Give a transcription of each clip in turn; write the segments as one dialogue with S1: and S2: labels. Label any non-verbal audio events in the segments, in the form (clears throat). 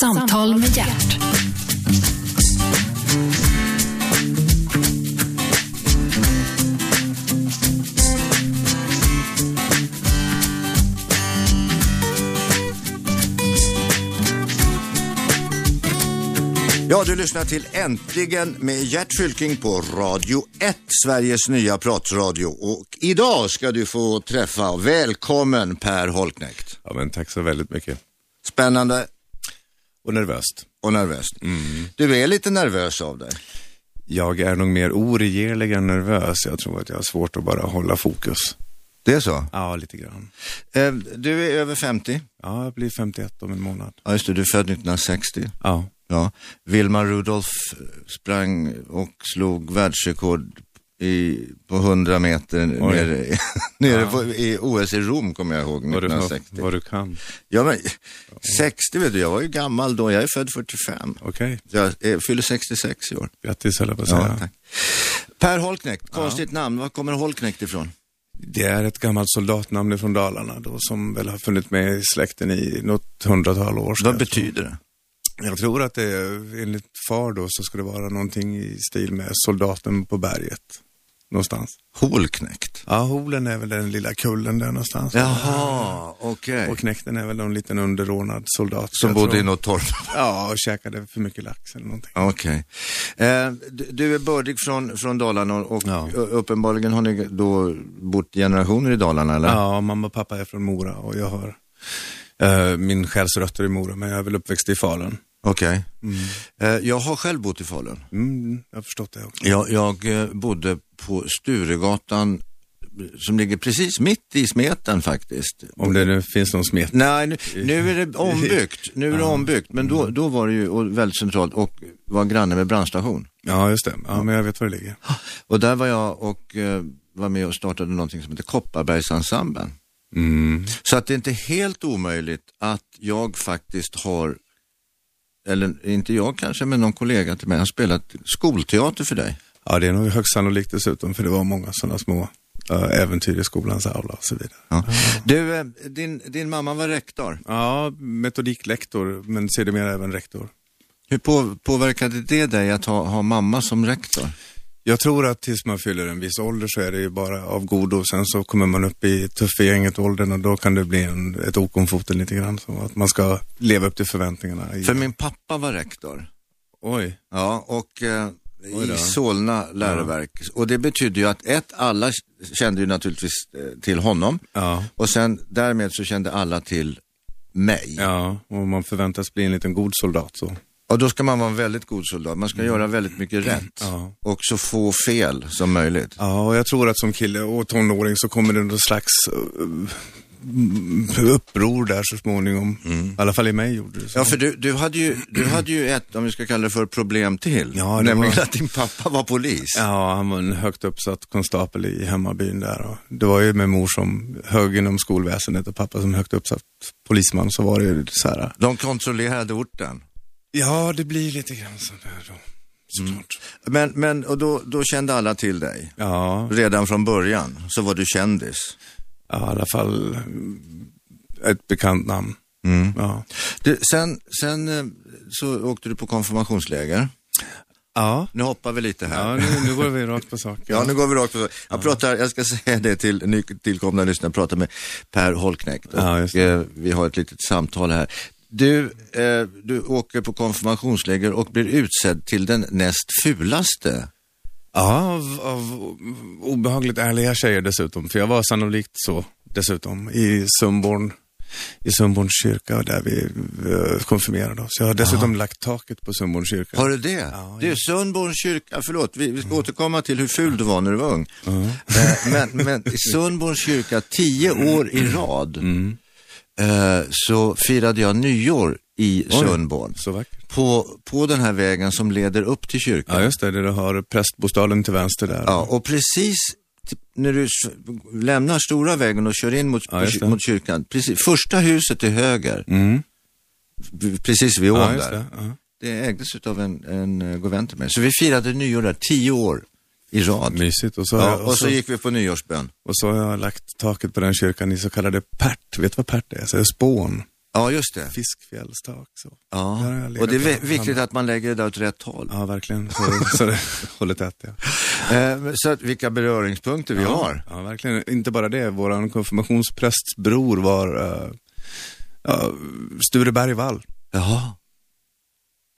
S1: Samtal med hjärt.
S2: Ja, du lyssnar till Äntligen med Gert Fylking på Radio 1, Sveriges nya pratradio. Och idag ska du få träffa, välkommen Per Holknekt.
S3: Ja, men tack så väldigt mycket.
S2: Spännande
S3: Och nervöst.
S2: och nervöst. Du är lite nervös av dig.
S3: Jag är nog mer oregerlig än nervös. Jag tror att jag har svårt att bara hålla fokus.
S2: Det är så.
S3: Ja, lite grann.
S2: Eh, Du är över 50.
S3: Ja, jag blir 51 om en månad.
S2: Ja, just det, du är född 1960.
S3: Ja,
S2: Ja. Wilma Rudolph eh, sprang och slog världsrekord i, på 100 meter
S3: Oj.
S2: nere, (laughs) nere på, i OS i Rom kommer jag ihåg
S3: vad du,
S2: 1960.
S3: vad du kan.
S2: Ja, men, 60 vet du, jag var ju gammal då. Jag är född 45.
S3: Okej,
S2: Så Jag eh, fyller 66 i år.
S3: grattis höll jag på att
S2: Ja,
S3: säga.
S2: tack. Per Holknekt, konstigt namn. Var kommer Holknekt ifrån?
S3: det är ett gammalt soldatnamn från Dalarna då, som väl har funnits med i släkten i något hundratal år. ska
S2: Vad
S3: jag tro.
S2: betyder det?
S3: Jag tror att det är, enligt far då, så ska det vara någonting i stil med soldaten på berget. Någonstans.
S2: Holknekt.
S3: Ja, Holen är väl den lilla kullen där någonstans.
S2: Jaha, okej.
S3: Och knekten är väl någon liten underordnad soldat.
S2: Som
S3: jag
S2: bodde
S3: tror.
S2: i något torp.
S3: Ja, och käkade för mycket lax eller någonting.
S2: (laughs) Okej. Eh, du- du är bördig från, från Dalarna och
S3: Ja.
S2: ö- uppenbarligen har ni då bott generationer i Dalarna eller?
S3: Ja, mamma och pappa är från Mora och jag har eh, min själs rötter i Mora, men jag är väl uppväxt i Falun.
S2: Okej. Eh, jag har själv bott i Falun.
S3: Mm, jag har förstått det också.
S2: Jag, jag eh, bodde på Sturegatan som ligger precis mitt i smeten faktiskt.
S3: Om det nu finns någon smet.
S2: Nej, nu, nu är det ombyggt. Nu är det ombyggt, men då, då var det ju och väldigt centralt och var granne med brandstation.
S3: Ja, just det. Ja, men jag vet var det ligger.
S2: Och där var jag och eh, var med och startade någonting som heter Kopparbergsensemblen.
S3: Mm.
S2: Så att det är inte helt omöjligt att jag faktiskt har, eller inte jag kanske, men någon kollega till mig har spelat skolteater för dig.
S3: Ja, det är nog högst sannolikt dessutom, för det var många sådana små eh, äventyr i skolans aula och så vidare.
S2: Ja. Du, eh, din, din mamma var rektor.
S3: Ja, metodiklektor, men sedermera även rektor.
S2: Hur på, påverkade det dig att ha, ha mamma som rektor?
S3: Jag tror att tills man fyller en viss ålder så är det ju bara av godo. Sen så kommer man upp i tuffa gänget åldern och då kan det bli en, ett ok om foten lite grann. Så att man ska leva upp till förväntningarna. I,
S2: För min pappa var rektor.
S3: Oj.
S2: Ja, och eh,
S3: Oj då.
S2: i Solna läroverk. Och det betydde ju att ett, alla kände ju naturligtvis eh, till honom.
S3: Ja.
S2: Och sen därmed så kände alla till mig.
S3: Ja, och man förväntas bli en liten god soldat så.
S2: Och då ska man vara en väldigt god soldat. Man ska göra väldigt mycket rätt
S3: Ja.
S2: och så få fel som möjligt.
S3: Ja, och jag tror att som kille och tonåring så kommer det någon slags eh, uppror där så småningom. I alla fall i mig gjorde det så.
S2: Ja, för du, du, hade ju, du hade ju ett, om vi ska kalla det för problem till.
S3: Ja, det
S2: nämligen
S3: var-
S2: att din pappa var polis.
S3: Ja, han var en högt uppsatt konstapel i hemmabyn där. Och det var ju med mor som hög inom skolväsendet och pappa som högt uppsatt polisman så var det ju så här.
S2: De kontrollerade orten.
S3: Ja, det blir lite grann så där då. Såklart.
S2: Men, men och då, då kände alla till dig.
S3: Ja,
S2: Redan från början så var du kändis.
S3: ja, i alla fall mm, ett bekant namn. Ja.
S2: Du, sen, sen eh, så åkte du på konfirmationsläger.
S3: Ja.
S2: Nu hoppar vi lite här.
S3: ja, nu, nu går vi rakt på (laughs) sak.
S2: Ja, nu går vi rakt på sak. Jag, pratar, jag ska säga det till nytillkomna lyssnare, jag pratar med Per Holknekt och
S3: Ja, just det.
S2: eh, vi har ett litet samtal här. Du, eh, du åker på konfirmationsläger och blir utsedd till den näst fulaste.
S3: Ja, av, av obehagligt ärliga tjejer dessutom. För jag var sannolikt så dessutom i Sundborn, i Sundborns kyrka där vi eh, konfirmerade oss. Jag har dessutom lagt taket på Sundborns kyrka.
S2: Har du det?
S3: Ja, Mm.
S2: Du, Sundborns kyrka, förlåt, vi, vi ska återkomma till hur ful du var när du var ung. Eh, men, men i Sundborns kyrka, tio
S3: Mm.
S2: år i rad, eh, så firade jag nyår i Sundborn.
S3: Så vackert.
S2: På, på den här vägen som leder upp till kyrkan.
S3: Ja, just det. Där du har prästbostaden till vänster där.
S2: Ja, och precis t- när du s- lämnar stora vägen och kör in mot,
S3: Ja, just det.
S2: mot kyrkan, precis, första huset till höger,
S3: Mm.
S2: v- precis vid ån
S3: Ja, just
S2: där, det.
S3: det. Ja.
S2: ägdes av en, en eh, god vän till mig. Så vi firade nyår där, tio år i rad.
S3: Mysigt. Och så, har
S2: Ja,
S3: jag-
S2: och så gick vi på nyårsbön.
S3: och så har jag lagt taket på den kyrkan i så kallade pärt. Vet du vad pärt är? Så Alltså, det är spån.
S2: Ja, just det.
S3: Fiskfjällstak. Så.
S2: Ja.
S3: Där har jag legat
S2: Och det är
S3: och
S2: vi-
S3: hamnat.
S2: viktigt att man lägger det där åt rätt håll.
S3: Ja, verkligen. Så, så det (laughs) håller tätt. Ja.
S2: Eh, men så att vilka beröringspunkter vi har.
S3: Ja, verkligen. Inte bara det. Vår konfirmationsprästbror var eh, ja, Sture Bergvall.
S2: Jaha.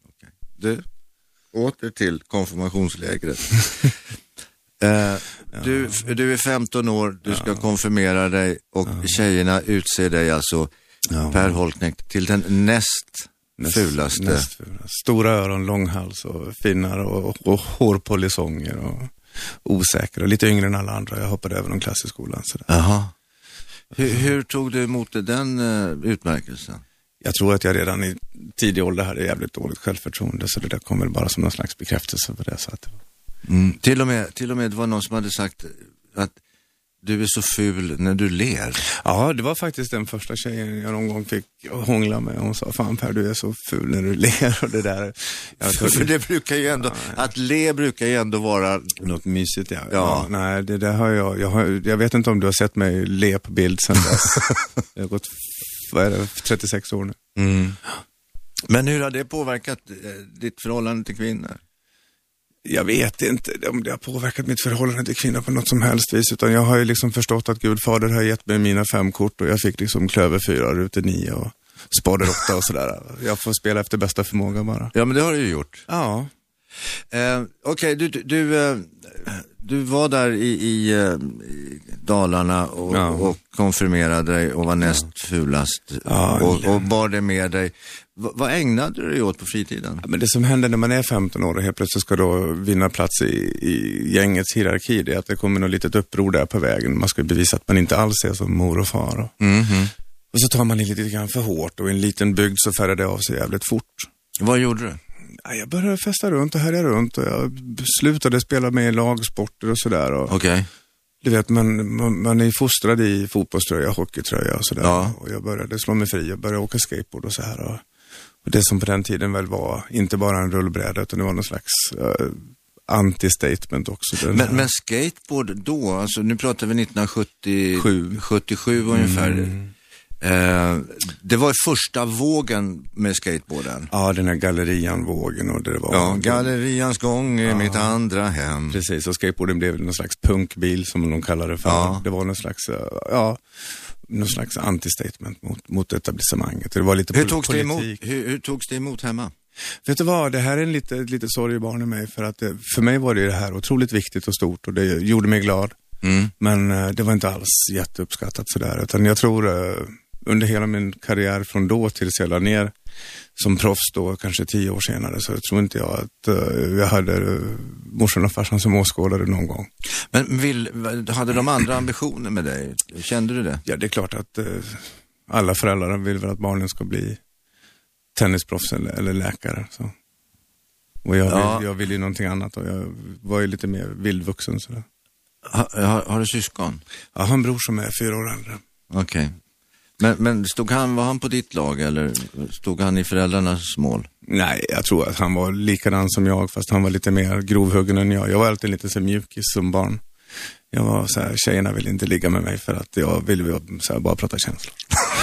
S2: Okej. Du, åter till konfirmationslägret.
S3: (laughs)
S2: Eh, du, f- du är 15 år, du ska konfirmera dig och tjejerna utser dig alltså,
S3: Ja.
S2: Per Holknekt, till den näst
S3: Näst-
S2: fulaste.
S3: näst fulaste. Stora öron, lång hals och finnar och, och hårpolisonger och osäker och lite yngre än alla andra. Jag hoppade över någon klass i skolan. Så
S2: Jaha. Hur, hur tog du emot den eh, utmärkelsen?
S3: Jag tror att jag redan i tidig ålder hade jävligt dåligt självförtroende så det där kom väl bara som någon slags bekräftelse på det. Så att,
S2: Till, och med, till och med det var någon som hade sagt att du är så ful när du ler.
S3: ja, det var faktiskt den första tjejen jag någon gång fick hångla med. Hon sa, fan Per du är så ful när du ler och det där. Jag tror-
S2: (laughs) För det brukar ju ändå, att le brukar ju ändå vara,
S3: Något mysigt ja. ja.
S2: Ja.
S3: nej, det där har jag, jag, har, jag vet inte om du har sett mig le på bild sedan (laughs) dess. jag har gått, vad är det, 36 år nu.
S2: Mm. men hur har det påverkat eh, ditt förhållande till kvinnor?
S3: Jag vet inte om det har påverkat mitt förhållande till kvinnor på något som helst vis, utan jag har ju liksom förstått att Gud fader har gett mig mina fem kort och jag fick liksom klöver fyra, rutor nio och spader åtta och (laughs) sådär. Jag får spela efter bästa förmåga bara.
S2: Ja, men det har du ju gjort.
S3: Ja,
S2: Eh, Okej, du, du, du, eh, du var där i, i, eh, i Dalarna och,
S3: Ja.
S2: och konfirmerade dig och var näst fulast
S3: Ja,
S2: och, och bar det med dig. Va- vad ägnade du dig åt på fritiden?
S3: Ja, Men det som händer när man är 15 år och helt plötsligt ska då vinna plats i, i gängets hierarki, det är att det kommer något litet uppror där på vägen. Man ska ju bevisa att man inte alls är som mor och far. Och, och så tar man i lite grann för hårt och i en liten bygd så färrar det av sig jävligt fort.
S2: Vad gjorde du?
S3: Ja, jag började festa runt och härja runt och jag slutade spela med i lagsporter och sådär. Och,
S2: Okej.
S3: Du vet, man, man, man är ju fostrad i fotbollströja, hockeytröja och sådär.
S2: Ja.
S3: Och jag började slå mig fri och började åka skateboard och så här. Och, och det som på den tiden väl var, inte bara en rullbräda, utan det var någon slags eh, anti-statement också. Den här-
S2: Men, men skateboard då, alltså nu pratar vi 1977
S3: Sju.
S2: 77 ungefär.
S3: Mm.
S2: Eh, det var första vågen med skateboarden.
S3: Ja, den här gallerian-vågen och det det var.
S2: Ja, gallerians gång är mitt andra hem.
S3: Precis, och skateboarden blev någon slags punkbil som de kallade det för.
S2: Ja.
S3: Det var någon slags, eh, ja, någon slags anti-statement mot, mot etablissemanget. Det var lite
S2: Hur
S3: pol-
S2: togs, det
S3: politik.
S2: emot, hur, hur togs det emot hemma?
S3: Vet du vad, det här är en lite, ett litet sorgebarn i mig för att det, för mig var det ju det här otroligt viktigt och stort och det gjorde mig glad.
S2: Mm.
S3: Men eh, det var inte alls jätteuppskattat sådär utan jag tror eh, under hela min karriär från då tills jag la ner som proffs då kanske tio år senare så tror inte jag att eh, jag hade eh, morsan och farsan som åskådare någon gång.
S2: Men vill, hade de andra ambitioner med dig? Kände du det?
S3: Ja, det är klart att eh, alla föräldrar vill väl att barnen ska bli tennisproffs eller, eller läkare. Så. Och jag,
S2: Ja.
S3: vill, jag vill ju någonting annat och jag var ju lite mer vildvuxen. Sådär.
S2: Ha, har, har du syskon?
S3: Jag har en bror som är fyra år äldre.
S2: Okej. Men, men stod han, var han på ditt lag eller stod han i föräldrarnas mål?
S3: Nej, jag tror att han var likadan som jag fast han var lite mer grovhuggen än jag. Jag var alltid lite så mjukis som barn. Jag var så här, tjejerna ville inte ligga med mig för att jag ville ju så här, bara prata känslor.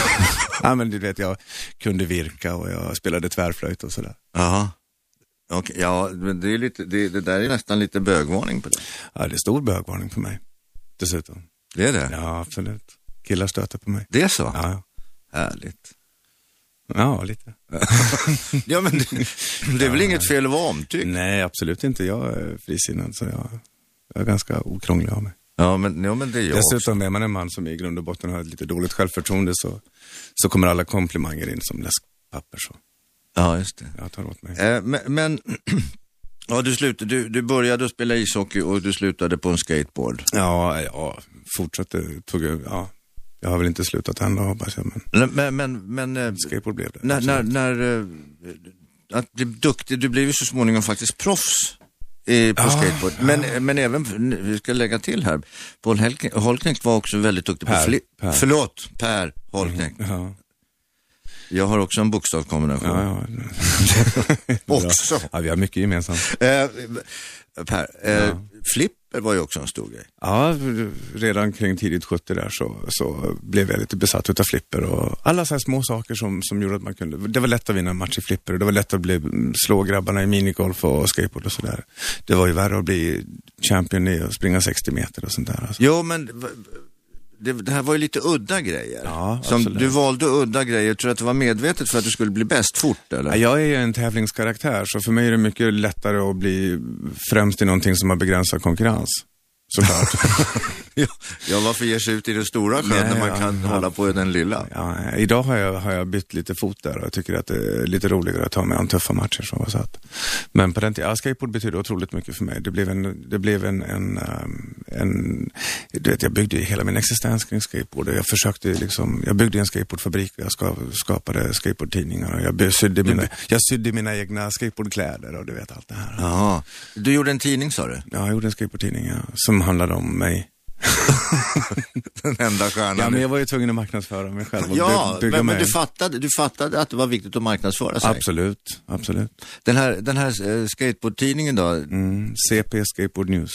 S3: (laughs) ja, men du vet, jag kunde virka och jag spelade tvärflöjt och sådär.
S2: Jaha. Okej, ja, men det, är lite, det, det där är nästan lite bögvarning på det.
S3: Ja, det är stor bögvarning på mig. Dessutom.
S2: Det är det?
S3: Ja, absolut. Killar stöter på mig.
S2: Det är så?
S3: Ja,
S2: Härligt.
S3: ja lite.
S2: Ja, men det, det är väl inget fel att vara omtyckt?
S3: Nej, absolut inte. Jag är frisinnad, så jag, jag är ganska okrånglig av mig.
S2: Ja, men, ja, men det är jag också.
S3: Dessutom är man en man som i grund och botten har ett lite dåligt självförtroende så, så kommer alla komplimanger in som läskpapper. Så
S2: Ja, just det.
S3: jag tar åt mig.
S2: Eh, men, men (clears throat) ja, du, slut, du, du började att spela ishockey och du slutade på en skateboard.
S3: Ja, ja fortsatte, tog jag, ja. Jag har väl inte slutat än då hoppas jag, men
S2: Men, men, men, men eh,
S3: skateboard blev det.
S2: när,
S3: absolut.
S2: när, när eh, att bli duktig, du blev ju så småningom faktiskt proffs eh, på
S3: Ja,
S2: skateboard. Men, men även, vi ska lägga till här, Paul Helk- Holknekt var också väldigt duktig
S3: Per,
S2: på flip.
S3: Per. Mm.
S2: Förlåt, Per Holknekt.
S3: Ja,
S2: Jag har också en bokstavskombination.
S3: ja, ja.
S2: Också.
S3: (laughs) ja, vi har mycket gemensamt.
S2: Eh, per, eh, flip Det var ju också en stor grej.
S3: Ja, redan kring tidigt 70 där så, så blev jag lite besatt utav flipper och alla så här små saker som, som gjorde att man kunde, det var lätt att vinna en match i flipper och det var lätt att bli, slå grabbarna i minigolf och skateboard och sådär. Det var ju värre att bli champion i att springa 60 meter och sånt där. Alltså.
S2: Jo, men v- det, det här var ju lite udda grejer.
S3: Ja,
S2: som,
S3: absolut.
S2: du valde udda grejer. Tror du att det var medvetet för att du skulle bli bäst fort? Eller?
S3: Jag är ju en tävlingskaraktär så för mig är det mycket lättare att bli främst i någonting som har begränsad konkurrens. Såklart.
S2: Ja, ja, varför ge sig ut i den stora sjön
S3: Nej,
S2: när man
S3: ja,
S2: kan
S3: ja.
S2: hålla på i den lilla?
S3: Ja, idag har jag, har jag bytt lite fot där och jag tycker att det är lite roligare att ta mig an tuffa matcher. Så så att, men på den tiden, ja, skateboard betydde otroligt mycket för mig. Det blev en, det blev en, en, ehm, en du vet, jag byggde ju hela min existens kring skateboard. och Jag försökte ju liksom, jag byggde en skateboardfabrik och jag ska, skapade skateboardtidningar och jag, by- sydde mina, jag sydde mina egna skateboardkläder och du vet allt det här.
S2: Jaha. Du gjorde en tidning sa du?
S3: Ja, jag gjorde en skateboardtidning ja, som handlade om mig.
S2: (laughs) Den enda stjärnan.
S3: Ja, men jag var ju tvungen att marknadsföra mig själv och
S2: Ja,
S3: by- bygga
S2: men, men
S3: mig.
S2: du, fattade, du fattade att det var viktigt att marknadsföra sig.
S3: Absolut, absolut.
S2: Den här, den här eh, skateboardtidningen då,
S3: (laughs) Mm, CP Skateboard
S2: (laughs)
S3: News.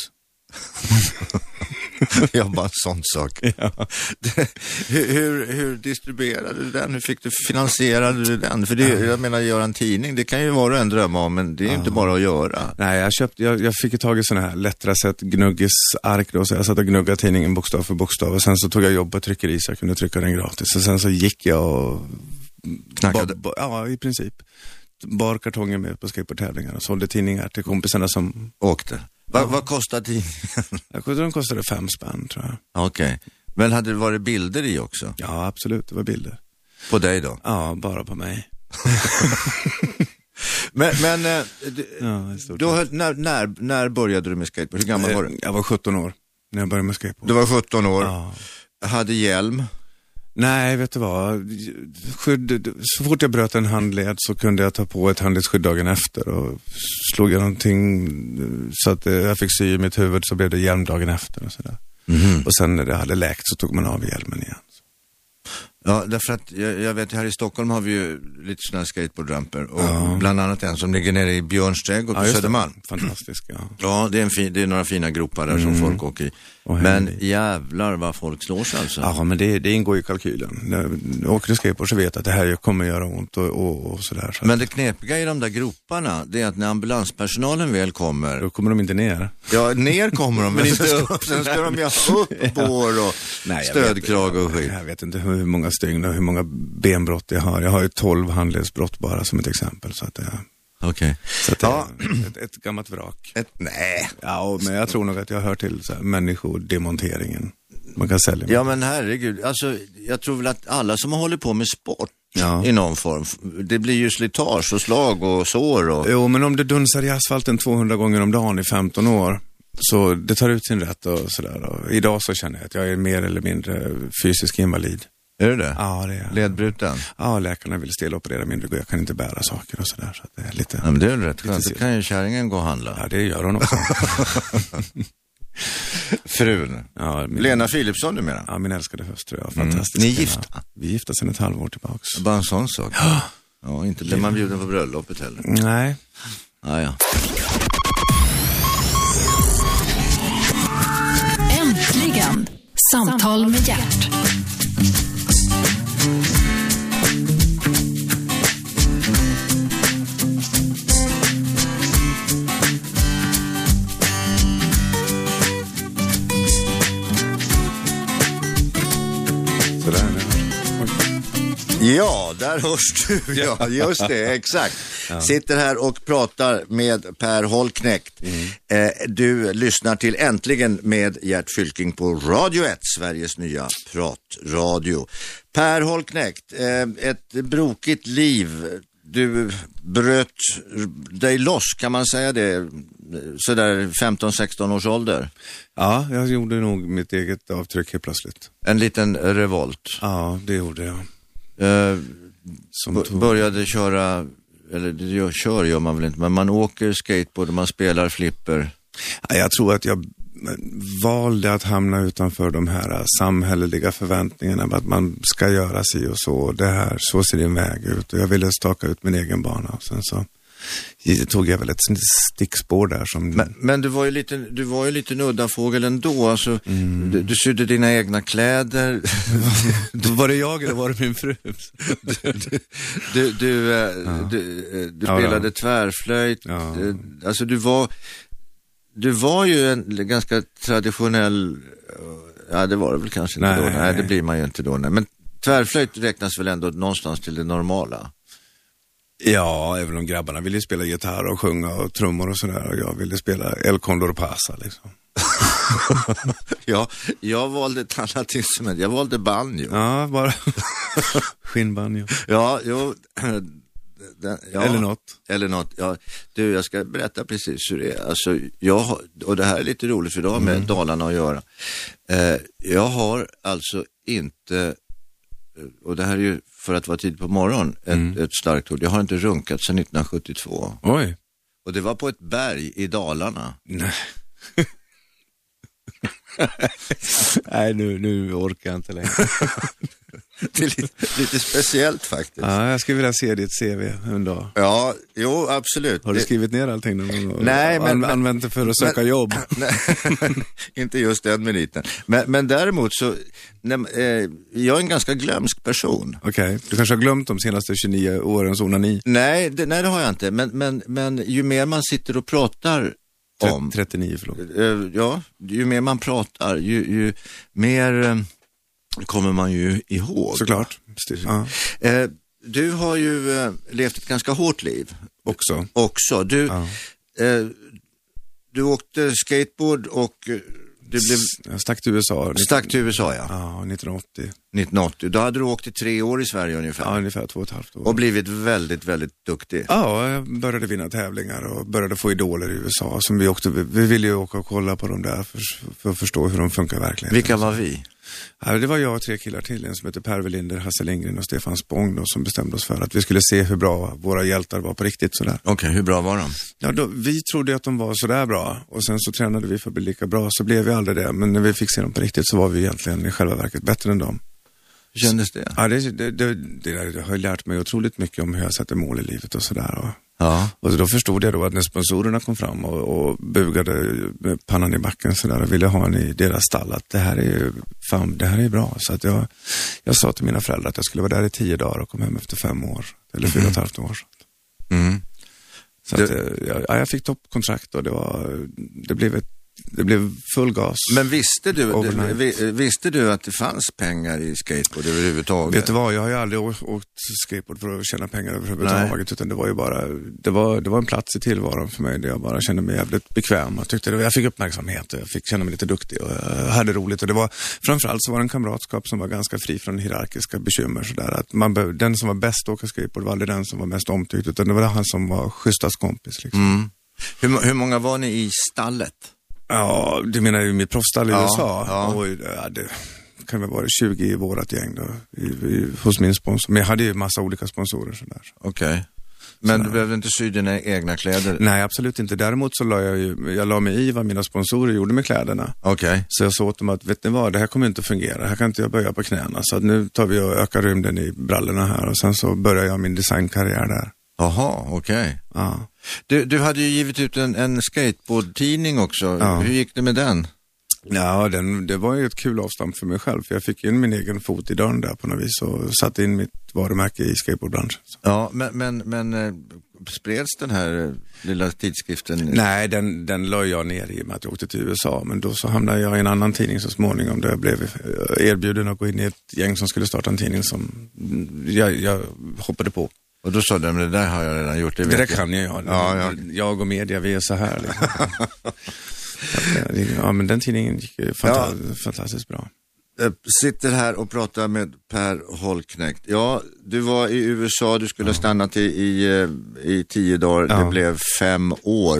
S2: jag bara en sån (laughs) sak. Det- (laughs) hur, hur, hur distribuerade du den? Hur fick du, finansierade du den? För det, jag menar, göra en tidning, det kan ju var och en drömma om, men det är ju inte bara att göra.
S3: Nej, jag, köpte, jag, jag fick ju tag i sådana här lättare sätt, gnuggisark då, så jag satt och gnuggade tidningen bokstav för bokstav och sen så tog jag jobb på tryckeri så jag kunde trycka den gratis och sen så gick jag och...
S2: Knackade.
S3: Ba, ba, ja, i princip. Bar kartonger med på skateboardtävlingar och sålde tidningar till kompisarna som...
S2: Åkte. Va, Vad kostar tidningen? (laughs)
S3: Jag tror de kostade fem spänn tror jag.
S2: Okej. Men hade det varit bilder i också?
S3: Ja, absolut, det var bilder.
S2: På dig då?
S3: Ja, bara på mig.
S2: Men, men eh, du,
S3: Ja, i stort Eh,
S2: du höll, när, när, när började du med skateboard? Hur gammal
S3: sett.
S2: var du?
S3: Jag var 17 år när jag började med skateboard.
S2: Du var 17 år,
S3: Ja.
S2: hade hjälm.
S3: Nej, vet du vad? Skydd, så fort jag bröt en handled så kunde jag ta på ett handledsskydd dagen efter och slog jag någonting eh, så att eh, jag fick sy i mitt huvud så blev det hjälm dagen efter och sådär. Och sen när det hade läkt så tog man av hjälmen igen.
S2: Ja, därför att jag, jag vet här i Stockholm har vi ju lite sådana skateboardramper och bland annat en som ligger nere i Björns trädgård på
S3: just det.
S2: Södermalm.
S3: Fantastiskt, ja.
S2: Ja, det är, en fin, det är några fina gropar där som folk åker i.
S3: Och
S2: Men
S3: Mm. händer
S2: jävlar vad folk slår sig alltså.
S3: Ja, men det, det ingår i kalkylen. När jag åker du skateboard så vet jag att det här kommer göra ont och, och, och sådär. Så
S2: Men det knepiga i de där groparna, det är att när ambulanspersonalen väl kommer,
S3: då kommer de inte ner.
S2: ja ner kommer
S3: (laughs)
S2: de, men
S3: inte
S2: sen ska,
S3: upp.
S2: (laughs) sen ska
S3: (laughs)
S2: de ju ha upp bår och stödkrage och skit.
S3: Jag vet inte hur många stygn och hur många benbrott jag har. Jag har ju 12 handledsbrott bara som ett exempel. Så att eh, det,
S2: Okej.
S3: så att det
S2: Ja.
S3: är (clears throat) ett, ett gammalt vrak.
S2: Ett- Nej.
S3: Ja, och- men jag tror nog att jag hör till så här, människodemonteringen. Man kan sälja mig.
S2: Ja men herregud, alltså jag tror väl att alla som håller på med sport
S3: Ja.
S2: i någon form, f- det blir ju slitage och slag och sår och...
S3: Jo, men om du dunsar i asfalten 200 gånger om dagen i 15 år, så det tar ut sin rätt och sådär. Och Idag så känner jag att jag är mer eller mindre fysisk invalid.
S2: Är det det?
S3: Ja, det är jag.
S2: Ledbruten?
S3: Ja, läkarna vill steloperera min rygg och jag kan inte bära saker och sådär. Så att det är lite...
S2: Ja men det är väl rätt
S3: Lite
S2: skönt, då
S3: synd.
S2: kan ju kärringen gå och handla.
S3: Ja, det gör hon (laughs) också.
S2: Frun.
S3: Ja, min,
S2: Lena Philipsson du menar?
S3: ja, min älskade hustru. Ja, fantastisk
S2: Ni är
S3: kvinna.
S2: gifta?
S3: Vi är Mm. gifta sedan ett halvår tillbaks.
S2: Bara en sån sak. Ja, inte Mm. blir man bjuden på bröllopet heller.
S3: Nej.
S2: Ja, ja.
S1: Äntligen! Samtal med hjärt.
S3: Sådär. Oj.
S2: Ja, där hörs du. (laughs) Ja, just det, exakt. Sitter här och pratar med Per Holknekt. Eh, du lyssnar till Äntligen med Gert Fylking på Radio 1, Sveriges nya pratradio. Per Holknekt, eh, ett brokigt liv. Du bröt dig loss, kan man säga det, eh, sådär 15-16 års ålder.
S3: Ja, jag gjorde nog mitt eget avtryck helt plötsligt.
S2: En liten revolt.
S3: Ja, det gjorde jag.
S2: Eh,
S3: Som
S2: B-
S3: tog...
S2: började köra, eller det gör, kör gör man väl inte, men man åker skateboard och man spelar flipper.
S3: Ja, Jag tror att jag valde att hamna utanför de här eh, samhälleliga förväntningarna med att man ska göra si och så, det här, så ser din väg ut. Och jag ville staka ut min egen bana och sen så tog jag väl ett stickspår där som...
S2: Men, men du var ju lite, du var ju lite en udda fågel ändå. Alltså,
S3: Mm.
S2: du, du sydde dina egna
S3: (laughs)
S2: kläder.
S3: var det jag eller var det min fru?
S2: Du, du, eh, du, eh, du
S3: Ja, ja.
S2: spelade tvärflöjt.
S3: Ja.
S2: Eh, Alltså du var, du var ju en ganska traditionell, eh, ja det var det väl kanske inte
S3: Nej.
S2: då. Nej, det blir man ju inte då. Nej. Men tvärflöjt räknas väl ändå någonstans till
S3: (laughs)
S2: det normala.
S3: ja, även om grabbarna ville spela gitarr och sjunga och trummor och sådär. Och jag ville spela El Condor Pasa liksom.
S2: Ja, jag valde ett annat instrument. Jag valde banjo.
S3: Ja, (laughs) bara skinnbanjo.
S2: Ja, jo, (clears throat) den, ja.
S3: Eller något.
S2: Eller något. Ja, du, jag ska berätta precis hur det är. Alltså, jag har, och det här är lite roligt för det har med
S3: Mm.
S2: Dalarna att göra. Eh, jag har alltså inte, eh, och det här är ju för att vara tid på morgonen, ett,
S3: Mm.
S2: ett starkt ord. Jag har inte runkat sedan 1972.
S3: Oj.
S2: Och det var på ett berg i Dalarna. (laughs)
S3: (laughs) Nej. Nej, nu, nu orkar jag inte längre.
S2: Det är lite, lite speciellt faktiskt.
S3: Ja, jag skulle vilja se ditt CV en dag.
S2: Ja, jo absolut.
S3: Har du
S2: Det-
S3: skrivit ner allting någon gång?
S2: Nej, men-
S3: An-
S2: men-
S3: använt det för att söka (clears throat)
S2: men-
S3: jobb?
S2: Nej, (laughs) inte just den meriten. Men, men däremot så, nej, eh, jag är en ganska glömsk person.
S3: Okej, du kanske har glömt de senaste 29 årens onani?
S2: Nej, det, nej, det har jag inte. Men, men, men ju mer man sitter och pratar
S3: Tre-
S2: om,
S3: 39, förlåt.
S2: eh, ja, ju mer man pratar, ju, ju mer eh, kommer man ju ihåg.
S3: Såklart. Ja.
S2: Eh, du har ju eh, levt ett ganska hårt liv
S3: Också.
S2: också. Du,
S3: Ja.
S2: eh, du åkte skateboard och eh, du blev
S3: Jag stack till USA
S2: stack till USA, ja.
S3: ja, 1980.
S2: 1980. Då hade du åkt i tre år i Sverige ungefär.
S3: Ja, ungefär två och ett halvt år.
S2: Och blivit väldigt, väldigt duktig.
S3: Ja, jag började vinna tävlingar och började få idoler i USA. Som vi, åkte, vi- vi ville ju åka och kolla på dem där för, för att förstå hur de funkar verkligen.
S2: Vilka var vi?
S3: Ja, det var jag och tre killar till, en som heter Per Welinder, Hasse Lindgren och Stefan Spång då, som bestämde oss för att vi skulle se hur bra våra hjältar var på riktigt. Sådär.
S2: Okej, hur bra var de?
S3: Ja, då, vi trodde att de var sådär bra och sen så tränade vi för att bli lika bra, så blev vi aldrig det. Men när vi fick se dem på riktigt så var vi egentligen i själva verket bättre än dem.
S2: Hur kändes det?
S3: Ja, det, det, det, det, där, det har ju lärt mig otroligt mycket om hur jag sätter mål i livet och sådär. Och,
S2: Ja.
S3: och då förstod jag då att när sponsorerna kom fram och, och bugade med pannan i backen sådär och ville ha en i deras stall, att det här är ju fan, det här är bra. Så att jag, jag sa till mina föräldrar att jag skulle vara där i tio dagar och kom hem efter fem år, eller fyra och ett halvt år.
S2: Mm.
S3: Så att, eh, jag, ja, jag fick toppkontrakt och det, var, det, blev ett, det blev full gas.
S2: Men visste du,
S3: Overnight.
S2: vi- visste du att det fanns pengar i skateboard överhuvudtaget?
S3: Vet du vad, jag har ju aldrig å- åkt skateboard för att tjäna pengar
S2: Nej.
S3: överhuvudtaget. Utan det var ju bara, det var, det var en plats i tillvaron för mig där jag bara kände mig jävligt bekväm. Jag, tyckte det, jag fick uppmärksamhet och jag fick känna mig lite duktig och jag hade roligt. Och det var, framförallt så var det en kamratskap som var ganska fri från hierarkiska bekymmer. Sådär. Att man behöv, den som var bäst att åka skateboard var aldrig den som var mest omtyckt. Utan det var han som var schysstast kompis. Liksom.
S2: Mm. hur, må- hur många var ni i stallet?
S3: Ja, du menar ju mitt proffsstall i
S2: Ja,
S3: USA?
S2: ja.
S3: Och, ja, det kan väl vara 20 i vårat gäng då, i, i, hos min sponsor. Men jag hade ju massa olika sponsorer sådär.
S2: Okej. Men du behövde inte sy dina egna kläder?
S3: Nej, absolut inte. Däremot så la jag ju, jag la mig i vad mina sponsorer gjorde med kläderna.
S2: Okej.
S3: Så jag sa åt dem att, vet ni vad, det här kommer inte fungera. Här kan inte jag böja på knäna. Så att nu tar vi och ökar rymden i brallorna här och sen så börjar jag min designkarriär där.
S2: Jaha, okej.
S3: Ja.
S2: Du, du hade ju givit ut en, en skateboardtidning också.
S3: Ja.
S2: Hur gick det med den?
S3: Ja, den, det var ju ett kul avstamp för mig själv. För jag fick in min egen fot i dörren där på något vis och satte in mitt varumärke i skateboardbranschen. Så.
S2: Ja, men, men, men eh, spreds den här eh, lilla tidskriften?
S3: Nej, den, den la jag ner i och med att jag åkte till USA. Men då så hamnade jag i en annan tidning så småningom där jag blev eh, erbjuden att gå in i ett gäng som skulle starta en tidning som mm, jag, jag hoppade på.
S2: Och då sa de, det där har jag redan gjort. Det,
S3: Det
S2: vet
S3: där kan jag, ja.
S2: Ja, ja.
S3: Jag och media, vi är så här.
S2: (laughs)
S3: Liksom. ja, men den tidningen gick ju fanta- fantastiskt bra.
S2: Eh, sitter här och pratar med Per Holknekt. Ja, du var i USA, du skulle ha stannat i, i, eh, i tio dagar,
S3: Ja.
S2: det blev fem år.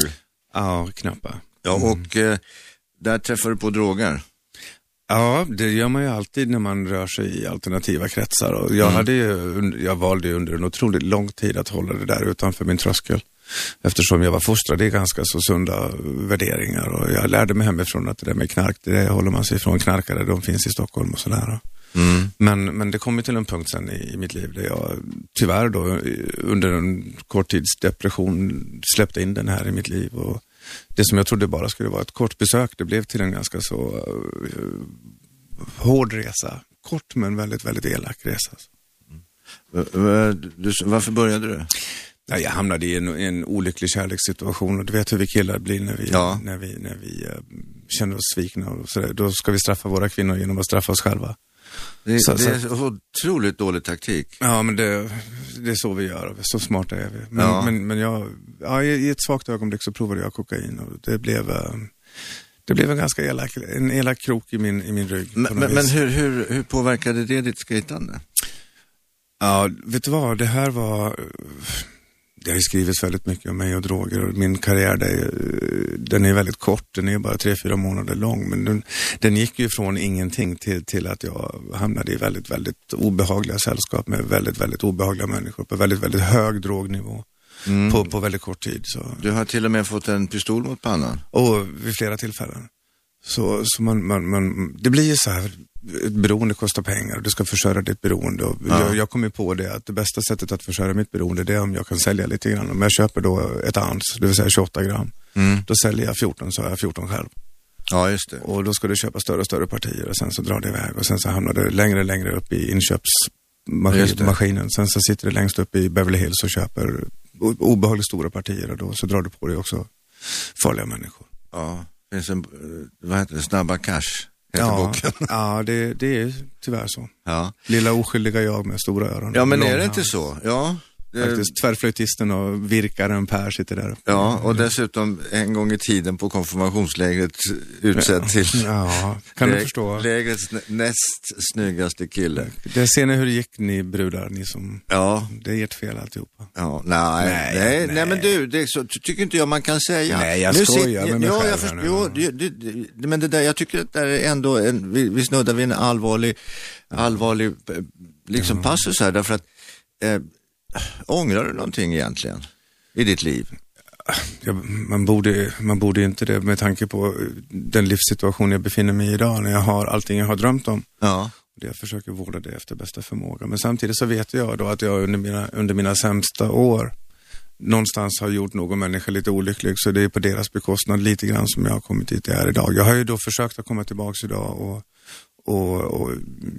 S3: Ja, knappa.
S2: Ja, och eh, där träffade du på droger.
S3: Ja, det gör man ju alltid när man rör sig i alternativa kretsar. Och jag, hade ju, jag valde ju under en otroligt lång tid att hålla det där utanför min tröskel. Eftersom jag var fostrad i ganska så sunda värderingar och jag lärde mig hemifrån att det där med knark, det där håller man sig ifrån. Knarkare, de finns i Stockholm och sådär.
S2: Mm.
S3: Men Men, men det kom ju till en punkt sen i, i mitt liv där jag tyvärr då i- under en kort tids depression släppte in den här i mitt liv. Och det som jag trodde bara skulle vara ett kort besök, det blev till en ganska så eh, hård resa. Kort men väldigt, väldigt elak resa.
S2: Eh, eh, du- Varför började du?
S3: Ja, jag hamnade i en, i en olycklig kärlekssituation och du vet hur vi killar blir när vi,
S2: Ja.
S3: när vi, när vi eh, känner oss svikna och sådär. Då ska vi straffa våra kvinnor genom att straffa oss själva.
S2: Det,
S3: Så-
S2: det är så otroligt dålig taktik.
S3: Ja, men det, det är så vi gör. Så smarta är vi. Men,
S2: Ja.
S3: men, men jag, ja, i i ett svagt ögonblick så provade jag kokain och det blev, eh, det blev en ganska elak, en elak krok i min, i min rygg. på
S2: Men,
S3: något
S2: men, men
S3: vis.
S2: hur, hur, hur påverkade det ditt skejtande?
S3: Ja, vet du vad? Det här var... eh, Det har ju skrivits väldigt mycket om mig och droger och min karriär det är, ju- eh, den är väldigt kort. Den är bara tre, fyra månader lång. Men den, den gick ju från ingenting till, till att jag hamnade i väldigt, väldigt obehagliga sällskap med väldigt, väldigt obehagliga människor på väldigt, väldigt hög drognivå på, på väldigt kort tid. Så.
S2: Du har till och med fått en pistol mot pannan.
S3: Och vid flera tillfällen. Så, så man, man, man, det blir ju så här, ett beroende kostar pengar och du ska försörja ditt beroende. Och
S2: Ja.
S3: jag, jag kom ju på det att det bästa sättet att försörja mitt beroende det är om jag kan sälja lite grann. Om jag köper då ett ounce, det vill säga 28 gram, då säljer jag 14 så har jag 14 själv.
S2: Ja, just det.
S3: Och då ska du köpa större och större partier och sen så drar det iväg och sen så hamnar du längre och längre upp i
S2: Just det.
S3: inköpsmaskinen. Sen så sitter du längst upp i Beverly Hills och köper o- obehagligt stora partier och då så drar du på dig också farliga människor.
S2: Ja, det finns en, eh, vad heter det, Snabba Cash, heter boken.
S3: (laughs)
S2: (laughs)
S3: ja det, det är tyvärr så.
S2: Ja.
S3: Lilla oskyldiga jag med stora öron.
S2: ja, men
S3: Lång
S2: är det
S3: hals.
S2: inte så? Ja. det-
S3: Faktiskt, tvärflöjtisten och virkaren Per sitter där uppe.
S2: Ja, och dessutom en gång i tiden på konfirmationslägret utsedd till
S3: Ja, kan du
S2: lä-
S3: förstå?
S2: lägrets nä- näst snyggaste kille.
S3: Det ser ni hur det gick ni brudar, ni som...
S2: Ja,
S3: Det är ert fel alltihopa.
S2: Ja, nej, nej,
S3: Nej,
S2: nej,
S3: nej.
S2: men du, det är så, ty- tycker inte jag man kan säga.
S3: Nej, jag skojar med mig
S2: ja,
S3: själv
S2: jag
S3: här
S2: först,
S3: nu.
S2: jo, det, det, det, men det där, jag tycker att det där är ändå, en, vi, vi snuddar vid en allvarlig, allvarlig eh, liksom passus här, därför att eh, ångrar du någonting egentligen i ditt liv?
S3: Jag, man, borde, man borde inte det med tanke på den livssituation jag befinner mig i idag när jag har allting jag har drömt om.
S2: Ja,
S3: Det Jag försöker vårda det efter bästa förmåga. Men samtidigt så vet jag då att jag under mina, under mina sämsta år någonstans har gjort någon människa lite olycklig. Så det är på deras bekostnad lite grann som jag har kommit dit jag är idag. Jag har ju då försökt att komma tillbaks idag och, och, och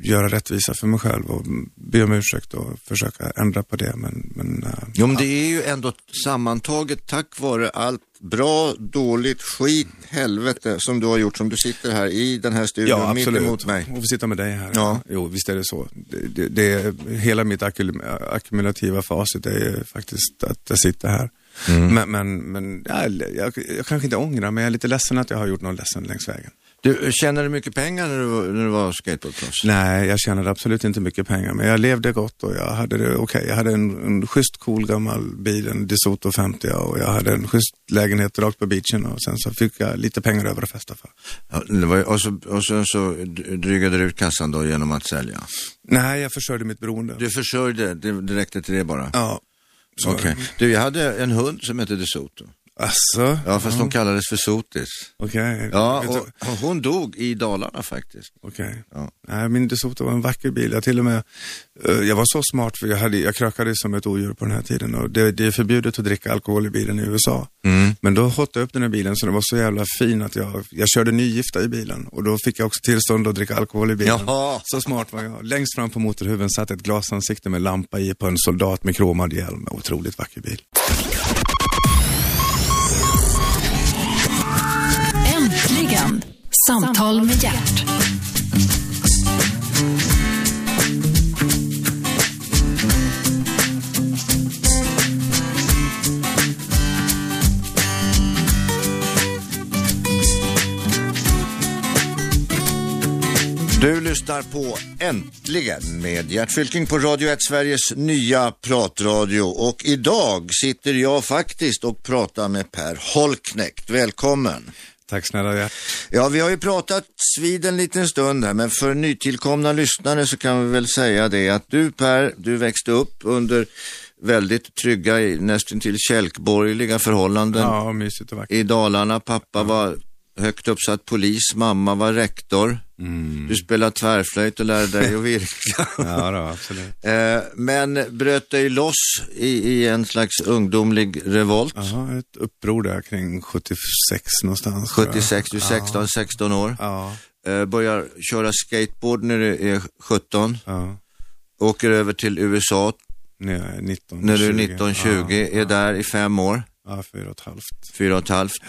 S3: göra rättvisa för mig själv och be om ursäkt och försöka ändra på det. Men, men eh,
S2: jo, men det är ju ändå sammantaget tack vare allt bra, dåligt, skit, helvete som du har gjort som du sitter här i den här studion mitt emot mig.
S3: Och få sitta med dig här.
S2: Ja.
S3: Jo, visst är det så. Det, det, det, hela mitt ackul- ackumulativa facit är ju faktiskt att jag sitter här.
S2: Mm.
S3: Men, men, men ja, jag, jag kanske inte ångrar, men jag är lite ledsen att jag har gjort någon ledsen längs vägen.
S2: Du, tjänade du mycket pengar när du, när du var skateboardproffs?
S3: Nej, jag tjänade absolut inte mycket pengar, men jag levde gott och jag hade det okej. Jag hade en, en schysst cool gammal bil, en DeSoto 50 och jag hade en schysst lägenhet rakt på beachen och sen så fick jag lite pengar över att festa för.
S2: Ja, det var, ju- och, så, och sen så drygade du ut kassan då genom att sälja.
S3: Nej, jag försörjde mitt beroende.
S2: Du försörjde, det, det räckte till det bara?
S3: Ja. så-
S2: Okej. Du, jag hade en hund som hette DeSoto.
S3: Alltså?
S2: Ja, fast hon kallades för Sotis.
S3: Okej.
S2: Ja,
S3: Vet
S2: och,
S3: du-
S2: och hon dog i Dalarna faktiskt.
S3: Okej.
S2: Ja.
S3: Nej, min DeSoto var en vacker bil. Jag till och med, eh, jag var så smart för jag, hade, jag krökade som ett odjur på den här tiden och det, det är förbjudet att dricka alkohol i bilen i USA. Men då hottade jag upp den här bilen så den var så jävla fin att jag, jag körde nygifta i bilen och då fick jag också tillstånd att dricka alkohol i bilen.
S2: Jaha.
S3: Så smart var jag. Längst fram på motorhuven satt ett glasansikte med lampa i på en soldat med kromad hjälm. Otroligt vacker bil.
S1: Äntligen! Samtal med hjärt.
S2: Du lyssnar på Äntligen med Gert Fylking på Radio 1, Sveriges nya pratradio. Och idag sitter jag faktiskt och pratar med Per Holknekt. Välkommen!
S3: Tack snälla Gert.
S2: Ja, vi har ju pratat vid en liten stund här, men för nytillkomna lyssnare så kan vi väl säga det att du Per, du växte upp under väldigt trygga, nästan till kälkborgerliga förhållanden
S3: Ja, mysigt och vackert.
S2: i Dalarna. Pappa var högt uppsatt polis, mamma var rektor.
S3: Mm.
S2: Du spelade tvärflöjt och lärde
S3: (laughs)
S2: dig att virka.
S3: Ja, då, absolut.
S2: Eh, men bröt dig loss i, i en slags ungdomlig revolt.
S3: Jaha, ett uppror där kring 76 någonstans. tror jag.
S2: 76, du är 16, 16 år.
S3: Ja,
S2: Eh, börjar köra skateboard när du är 17.
S3: ja.
S2: Åker över till USA
S3: När jag är 19,
S2: när du är
S3: 20.
S2: 19,
S3: Ja.
S2: 20. Är där i fem år,
S3: Ja, fyra och ett halvt.
S2: fyra och ett halvt.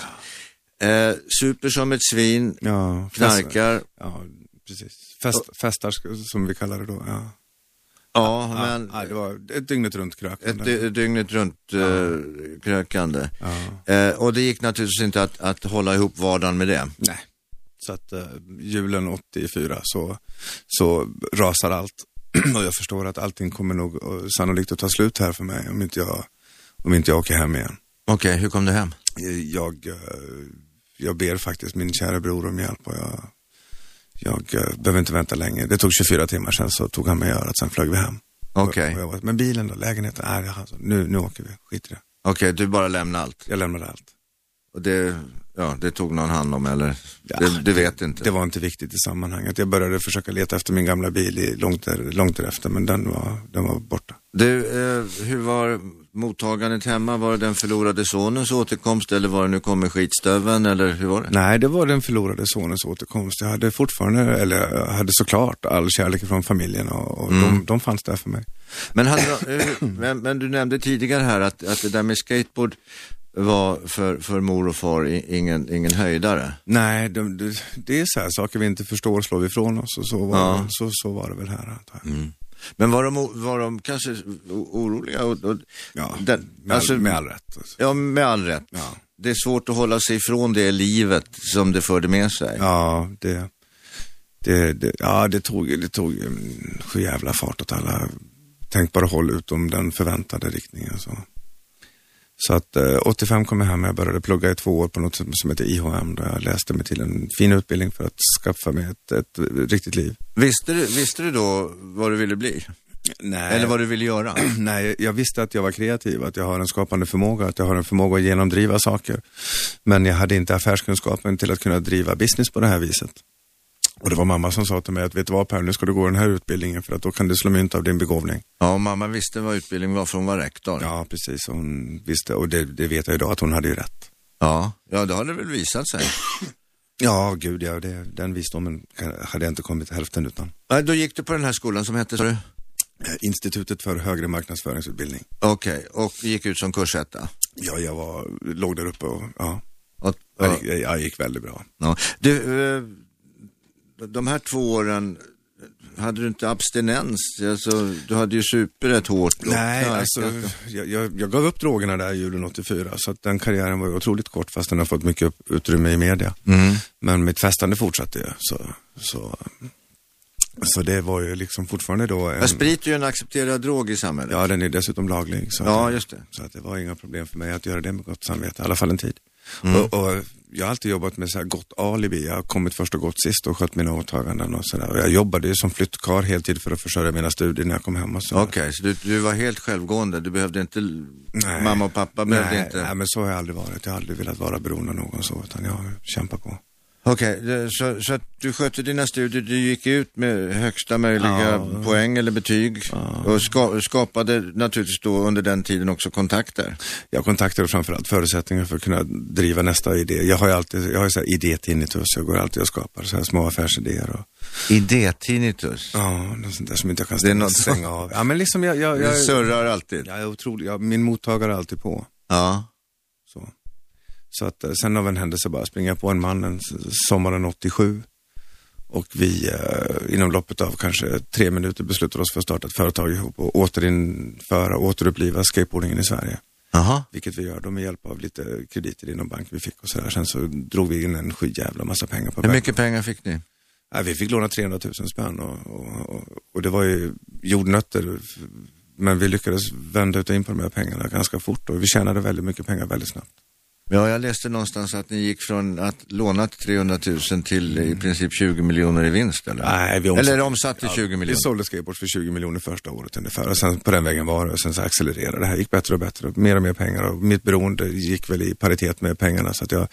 S2: Eh, super som ett svin,
S3: Ja, fest-
S2: knarkar.
S3: Ja, precis. Fest, festar sk- som vi kallar det då. Ja,
S2: Ja,
S3: ja,
S2: men
S3: ja det var ett dygnet runt krök.
S2: Ett dy- dygnet runt eh, krökande.
S3: Ja.
S2: Eh, och det gick naturligtvis inte att, att hålla ihop vardagen med det.
S3: Nej. Så att eh, julen 84 så, så rasar allt. (clears throat) och jag förstår att allting kommer nog eh, sannolikt att ta slut här för mig om inte jag, om inte jag åker hem igen.
S2: Okej, hur kom du hem?
S3: Eh, Jag, eh, jag ber faktiskt min kära bror om hjälp och jag, jag eh, behöver inte vänta länge. Det tog 24 timmar sen så tog han mig i örat, sen flög vi hem.
S2: Okej,
S3: Och
S2: okej,
S3: jag var, men bilen då, lägenheten, nej, jaha, så nu, nu åker vi, skit i det.
S2: du bara lämnade allt.
S3: Jag lämnade allt.
S2: Och det, ja, det tog någon hand om eller?
S3: Ja,
S2: det, du vet inte?
S3: Det var inte viktigt i sammanhanget. Jag började försöka leta efter min gamla bil i, långt, där, långt därefter, men den var, den var borta.
S2: Du, eh, hur var mottagandet hemma? Var det den förlorade sonens återkomst eller var det nu kommer skitstöven eller hur var det?
S3: Nej, det var den förlorade sonens återkomst. Jag hade fortfarande, eller jag hade såklart all kärlek från familjen och, och de, de fanns där för mig.
S2: Men, hade, de- eh, men, men du nämnde tidigare här att, att det där med skateboard var för, för mor och far i- ingen, ingen höjdare.
S3: Nej, de, de, det är så här, saker vi inte förstår slår vi ifrån oss och så var,
S2: Ja. Mm.
S3: så, så var det väl här antar jag.
S2: Men var de, o- var de kanske o- oroliga? Och, och,
S3: Ja,
S2: den,
S3: med,
S2: alltså,
S3: all, med all rätt. Alltså.
S2: ja, med all rätt.
S3: Ja.
S2: Det är svårt att hålla sig ifrån det livet som det förde med sig.
S3: Ja, det, det, det, ja, det tog, det tog mm, sju jävla fart åt alla tänkbara håll utom den förväntade riktningen. Så, så att eh, 85 kom jag hem och jag började plugga i två år på något som, som heter IHM där jag läste mig till en fin utbildning för att skaffa mig ett, ett riktigt liv.
S2: Visste, du, visste du då vad du ville bli?
S3: Nej.
S2: Eller vad du ville göra?
S3: (clears throat) Nej, jag visste att jag var kreativ, att jag har en skapande förmåga, att jag har en förmåga att genomdriva saker. Men jag hade inte affärskunskapen till att kunna driva business på det här viset. Och det var mamma som sa till mig att, vet du vad Per, nu ska du gå den här utbildningen för att då kan du slå mynt av din begåvning.
S2: Ja, och mamma visste vad utbildning var för hon var rektor.
S3: Ja, precis. Och Hon visste, och det, det vet jag idag, att hon hade ju rätt.
S2: ja. Ja, det har det väl visat sig.
S3: Ja, gud ja, det, den visdomen kan- hade jag inte kommit hälften utan.
S2: Nej, då gick du på den här skolan som hette, sa du?
S3: Eh, Institutet för högre marknadsföringsutbildning.
S2: Okej, och gick ut som kursetta.
S3: Ja, jag var, låg där uppe och ja,
S2: Och,
S3: jag, gick- jag gick väldigt bra.
S2: ja. Du, eh, de här två åren, hade du inte abstinens? Alltså, du hade ju super rätt hårt. och
S3: Nej,
S2: knarkat.
S3: alltså, jag, jag, jag gav upp drogerna där julen 84, så att den karriären var ju otroligt kort fast den har fått mycket upp- utrymme i media.
S2: Mm.
S3: Men mitt festande fortsatte ju, så, så, så det var ju liksom fortfarande då en,
S2: Ja, sprit är ju en accepterad drog i samhället.
S3: Ja, den är dessutom laglig. Så, att-
S2: Ja, just det.
S3: så att det var inga problem för mig att göra det med gott samvete, i alla fall en tid.
S2: Mm.
S3: Och, och jag har alltid jobbat med så här gott alibi, jag har kommit först och gått sist och skött mina åtaganden och sådär. Och jag jobbade ju som flyttkarl heltid för att försörja mina studier när jag kom hem och så.
S2: Okej, så du, du var helt självgående. Du behövde inte,
S3: Nej.
S2: mamma och pappa behövde
S3: nej,
S2: inte.
S3: Nej, men så har jag aldrig varit. Jag har aldrig velat vara beroende av någon så, utan jag kämpar på.
S2: Okej, det- så, så att du skötte dina studier, du gick ut med högsta möjliga
S3: Ja.
S2: poäng eller betyg och ska, skapade naturligtvis då under den tiden också kontakter.
S3: Jag kontaktade framförallt förutsättningar för att kunna driva nästa idé. Jag har ju alltid, jag har ju så här idétinnitus, jag går alltid och skapar så här små affärsidéer och,
S2: Idétinnitus.
S3: ja, något sånt där som inte jag kan
S2: Det är något-
S3: stänga av. Ja, men liksom jag, jag,
S2: Du
S3: jag, jag,
S2: surrar alltid.
S3: jag är otrolig, jag, min mottagare är alltid på.
S2: Ja.
S3: Så, så att eh, sen av en händelse bara springer jag på en man en s- sommaren 87 och vi eh, inom loppet av kanske tre minuter beslutar oss för att starta ett företag ihop och återinföra och återuppliva skateboardingen i Sverige.
S2: Jaha.
S3: Vilket vi gör då med hjälp av lite krediter i någon bank vi fick och sådär. Sen så drog vi in en skyjävla massa pengar på
S2: Hur
S3: banken.
S2: mycket pengar fick ni?
S3: Ja, vi fick låna 300 000 spänn och, och, och, och det var ju jordnötter. f- Men vi lyckades vända ut och in på de här pengarna ganska fort och vi tjänade väldigt mycket pengar väldigt snabbt.
S2: Ja, jag läste någonstans att ni gick från att lånat 300 000 till i princip 20 miljoner i vinst eller?
S3: Nej, vi omsatte-
S2: eller omsatt till 20
S3: Vi
S2: miljoner?
S3: sålde skateboards för 20 miljoner första året ungefär och sen på den vägen var det och sen så accelererade det här. gick bättre och bättre, och mer och mer pengar och mitt beroende gick väl i paritet med pengarna så att jag,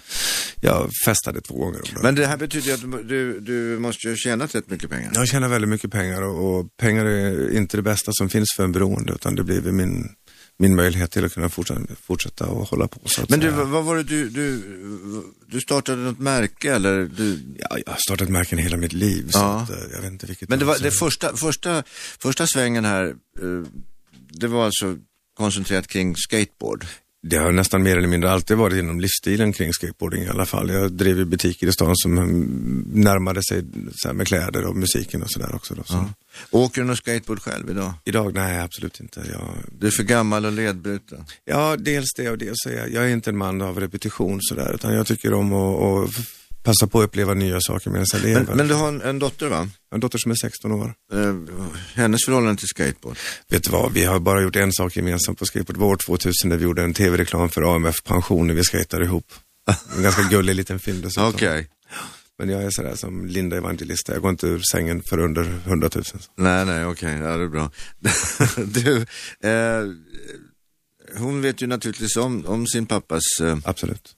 S3: jag festade två gånger om dagen.
S2: Men det här betyder ju att du, du måste ju ha tjänat rätt mycket pengar.
S3: Jag tjänar väldigt mycket pengar och, och pengar är inte det bästa som finns för en beroende utan det blir väl min, min möjlighet till att kunna fortsätta, fortsätta och hålla på. Så att
S2: Men du,
S3: säga.
S2: vad vad var det du, du, du startade något märke eller? Du,
S3: ja, jag har startat märken hela mitt liv så
S2: Ja.
S3: att, eh, jag vet inte vilket.
S2: men det
S3: jag
S2: var
S3: ska
S2: det
S3: säga.
S2: första, första, första svängen här, eh, det var alltså koncentrerat kring skateboard.
S3: Det har nästan mer eller mindre alltid varit inom livsstilen kring skateboarding i alla fall. Jag drev ju butiker i stan som mm, närmade sig så här, med kläder och musiken och sådär också. Då, så.
S2: Åker du någon skateboard själv idag?
S3: Idag, nej absolut inte. Jag,
S2: Du är för gammal och ledbruten.
S3: ja, dels det och dels är jag, jag är inte en man av repetition sådär utan jag tycker om att, att passa på att uppleva nya saker medan jag lever.
S2: Men, men du har en, en dotter va?
S3: Jag har en dotter som är 16 år.
S2: Eh, hennes förhållande till skateboard.
S3: Vet du vad, vi har bara gjort en sak gemensamt på skateboard. Det var år 2000 när vi gjorde en tv-reklam för AMF Pension när vi skejtade ihop. En ganska gullig liten film dessutom.
S2: (laughs) Okej.
S3: Men jag är sådär som Linda Evangelista, jag går inte ur sängen för under 100 000.
S2: Nej, nej, okej, ja, det är bra. (laughs) du, eh, hon vet ju naturligtvis om, om sin pappas eh,
S3: Absolut.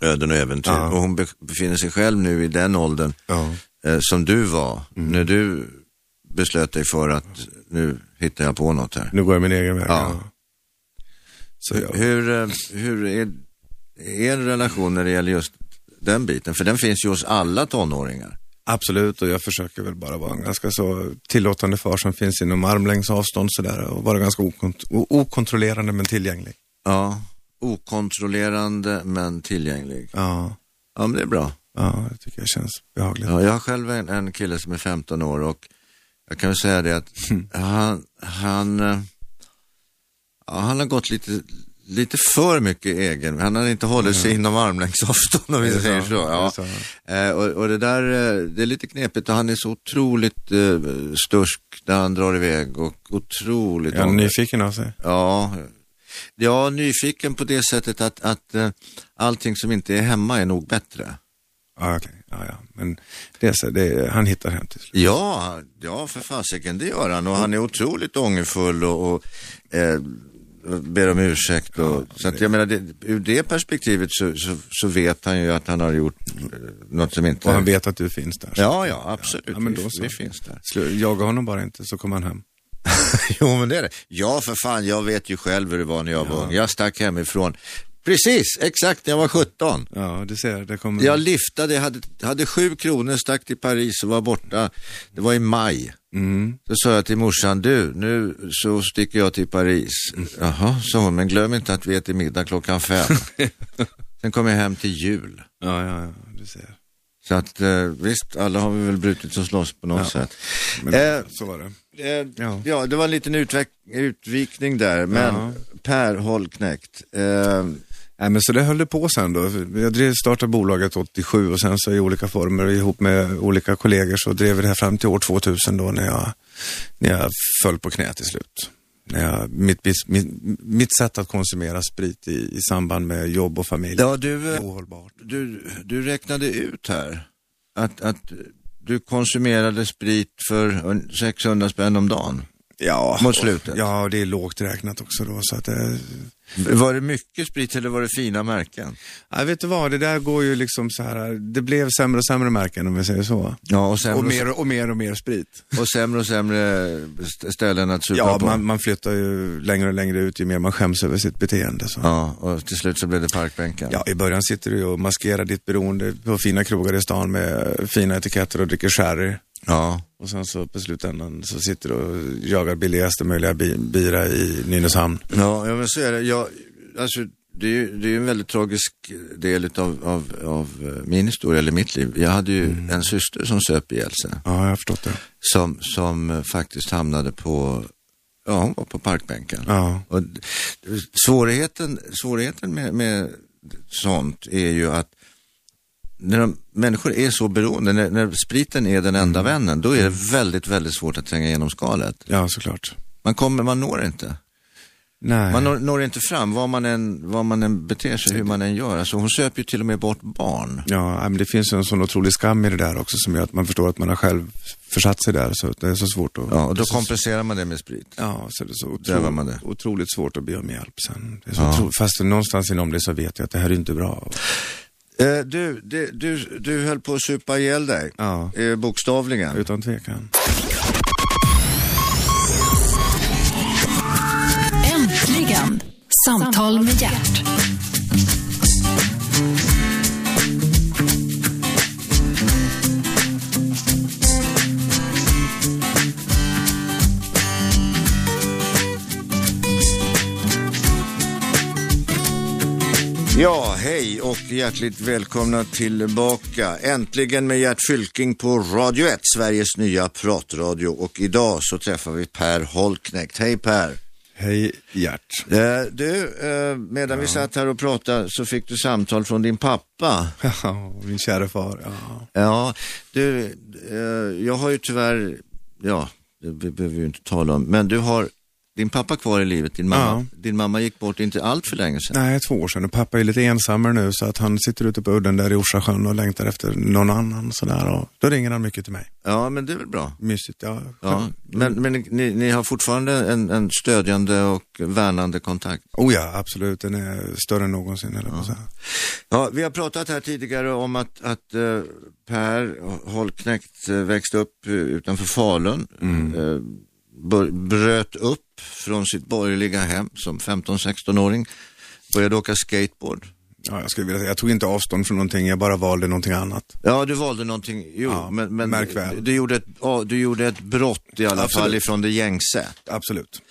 S2: öden och äventyr
S3: Ja.
S2: och hon be- befinner sig själv nu i den åldern
S3: Ja.
S2: eh, som du var när du beslöt dig för att nu hittar jag på något här.
S3: Nu går jag min egen väg.
S2: Ja.
S3: Så jag,
S2: Hur, eh, hur är er relation när det gäller just den biten? För den finns ju hos alla tonåringar.
S3: absolut, och jag försöker väl bara vara en ganska så tillåtande far som finns inom armlängds avstånd sådär och vara ganska okont- o- okontrollerande men tillgänglig.
S2: Ja, okontrollerande men tillgänglig.
S3: Ja.
S2: Ja, men det är bra.
S3: ja, det tycker jag känns behagligt.
S2: Ja, jag har själv en, en kille som är 15 år och jag kan väl säga det
S3: (laughs)
S2: att han, han, eh, ja, han har gått lite, lite för mycket egen. Han har inte hållit sig inom
S3: (laughs)
S2: armlängds avstånd om
S3: Är
S2: vi
S3: det
S2: säger
S3: så?
S2: så.
S3: Är
S2: Ja.
S3: det så?
S2: Eh, och, och det där, eh, det är lite knepigt och han är så otroligt eh, stursk när han drar iväg och otroligt
S3: Är han nyfiken av sig?
S2: Ja, ja nyfiken på det sättet att, att eh, allting som inte är hemma är nog bättre.
S3: Ja, okej. Ja, ja. Men det är så, det är, han hittar hem till slut.
S2: Ja, ja för fasiken det gör han och han är otroligt ångerfull och, och eh, ber om ursäkt. Och, så att jag menar, det, ur det perspektivet så, så, så vet han ju att han har gjort eh, något som inte...
S3: Och han vet att du finns där.
S2: Ja, ja, absolut.
S3: Ja, men då
S2: Vi-
S3: så.
S2: vi finns där. (laughs)
S3: Slu- Jaga honom bara inte så kommer han hem.
S2: jo, men det är det. Ja, för fan, jag vet ju själv hur det var när jag var ung. Jag stack hemifrån. Precis, exakt när jag var 17.
S3: Ja, du ser, det kommer...
S2: Jag liftade, hade, hade sju kronor, stack till Paris och var borta. Det var i maj.
S3: Mm.
S2: Så sa jag till morsan, du, nu så sticker jag till Paris.
S3: Mm.
S2: Jaha, sa hon, men glöm inte att vi äter middag
S3: (laughs)
S2: klockan fem. Sen kom jag hem till jul.
S3: Ja, ja, ja, du ser.
S2: Så att eh, visst, alla har vi väl brutit oss loss på något sätt.
S3: Men
S2: Eh,
S3: så var det.
S2: Eh, ja.
S3: Ja.
S2: det var en liten utveck- utvikning där, men
S3: Ja.
S2: Per Holknekt. Eh,
S3: Nej, men så det höll det på sen då. Jag drev, startade bolaget 87 och sen så i olika former ihop med olika kollegor så drev vi det här fram till år 2000 då när jag, när jag föll på knä till slut. När jag, mitt, bis- mitt, mitt sätt att konsumera sprit i, i samband med jobb och familj.
S2: ja, du,
S3: Det är
S2: eh,
S3: Ohållbart.
S2: du, du räknade ut här att, att du konsumerade sprit för un- 600 spänn om dagen.
S3: Ja,
S2: Mot slutet.
S3: Ja, det är lågt räknat också då så att eh, det,
S2: Var det mycket sprit eller var det fina märken?
S3: ja, vet du vad, det där går ju liksom så här, det blev sämre och sämre märken om vi säger så.
S2: Ja, och sämre
S3: Och
S2: och,
S3: mer och mer och mer sprit.
S2: och, sämre, och sämre eh, st- ställen att supa
S3: Ja,
S2: på.
S3: man, man flyttar ju längre och längre ut ju mer man skäms över sitt beteende. Så. Ja.
S2: Ja, och till slut så blev det parkbänken.
S3: i början sitter du ju och maskerar ditt beroende på fina krogar i stan med fina etiketter och dricker sherry.
S2: ja.
S3: Och sen så på slutändan så sitter du och jagar billigaste möjliga bi- bira i Nynäshamn.
S2: Ja, jag vill säga det. Jag, alltså, det är ju det är ju en väldigt tragisk del utav, av, av eh, min historia, eller mitt liv. Jag hade ju en syster som söp ihjäl sig,
S3: Ja, jag har förstått det.
S2: som, som eh, faktiskt hamnade på, ja hon var på parkbänken.
S3: Ja,
S2: Och d- svårigheten svårigheten med, med sånt är ju att när de, människor är så beroende, när, när spriten är den enda
S3: Mm.
S2: vännen, då är det väldigt, väldigt svårt att tränga igenom skalet.
S3: ja såklart.
S2: Man kommer, man når inte.
S3: Nej.
S2: Man når, når inte fram vad man, än, vad man än beter sig, hur man än gör. Alltså, hon söp ju till och med bort barn.
S3: Ja, nej, men det finns ju en sån otrolig skam i det där också som gör att man förstår att man har själv försatt sig där. Så att det är så svårt att...
S2: Ja, och
S3: det
S2: då
S3: är så-
S2: kompenserar man det med sprit.
S3: Ja, så det är så
S2: Där var man det.
S3: otroligt, otroligt svårt att be om hjälp sen. Det är så otro... Fast någonstans inom det så vet jag att det här är inte bra.
S2: Eh, du, det, du, du höll på att supa ihjäl dig,
S3: Ja.
S2: eh, bokstavligen.
S3: Utan tvekan.
S1: Äntligen! Samtal med hjärt.
S2: Ja, hej och hjärtligt välkomna tillbaka. Äntligen med Gert Fylking på Radio 1, Sveriges nya pratradio. Och idag så träffar vi Per Holknekt. Hej Per!
S3: Hej Gert.
S2: Eh, du, eh, medan vi satt här och pratade så fick du samtal från din pappa.
S3: (laughs) Ja, min kära far. Ja.
S2: Ja, du, eh, jag har ju tyvärr, ja, det be- behöver vi ju inte tala om, men du har din pappa kvar i livet, din mamma, din mamma gick bort inte allt för länge sedan.
S3: Nej, två år sedan. Och pappa är lite ensammare nu så att han sitter ute på udden där i Orsasjön och längtar efter någon annan sådär. Och då ringer han mycket till mig.
S2: Ja, men det är väl bra.
S3: Mysigt. Ja,
S2: Ja, men, men ni, ni har fortfarande en, en stödjande och värnande kontakt.
S3: Oh ja, absolut. Den är större än någonsin. Eller ja.
S2: Ja, vi har pratat här tidigare om att, att eh, Per Holknekt eh, växte upp eh, utanför Falun,
S3: Mm.
S2: eh, bör, bröt upp från sitt borgerliga hem som 15-16-åring, började åka skateboard.
S3: Ja, jag, skulle vilja säga, jag tog inte avstånd från någonting, jag bara valde någonting annat.
S2: Ja, du valde någonting, jo,
S3: Ja,
S2: men, men
S3: märk väl.
S2: du, gjorde ett, ja, du gjorde ett brott i alla
S3: Absolut.
S2: fall ifrån det gängse.
S3: Absolut.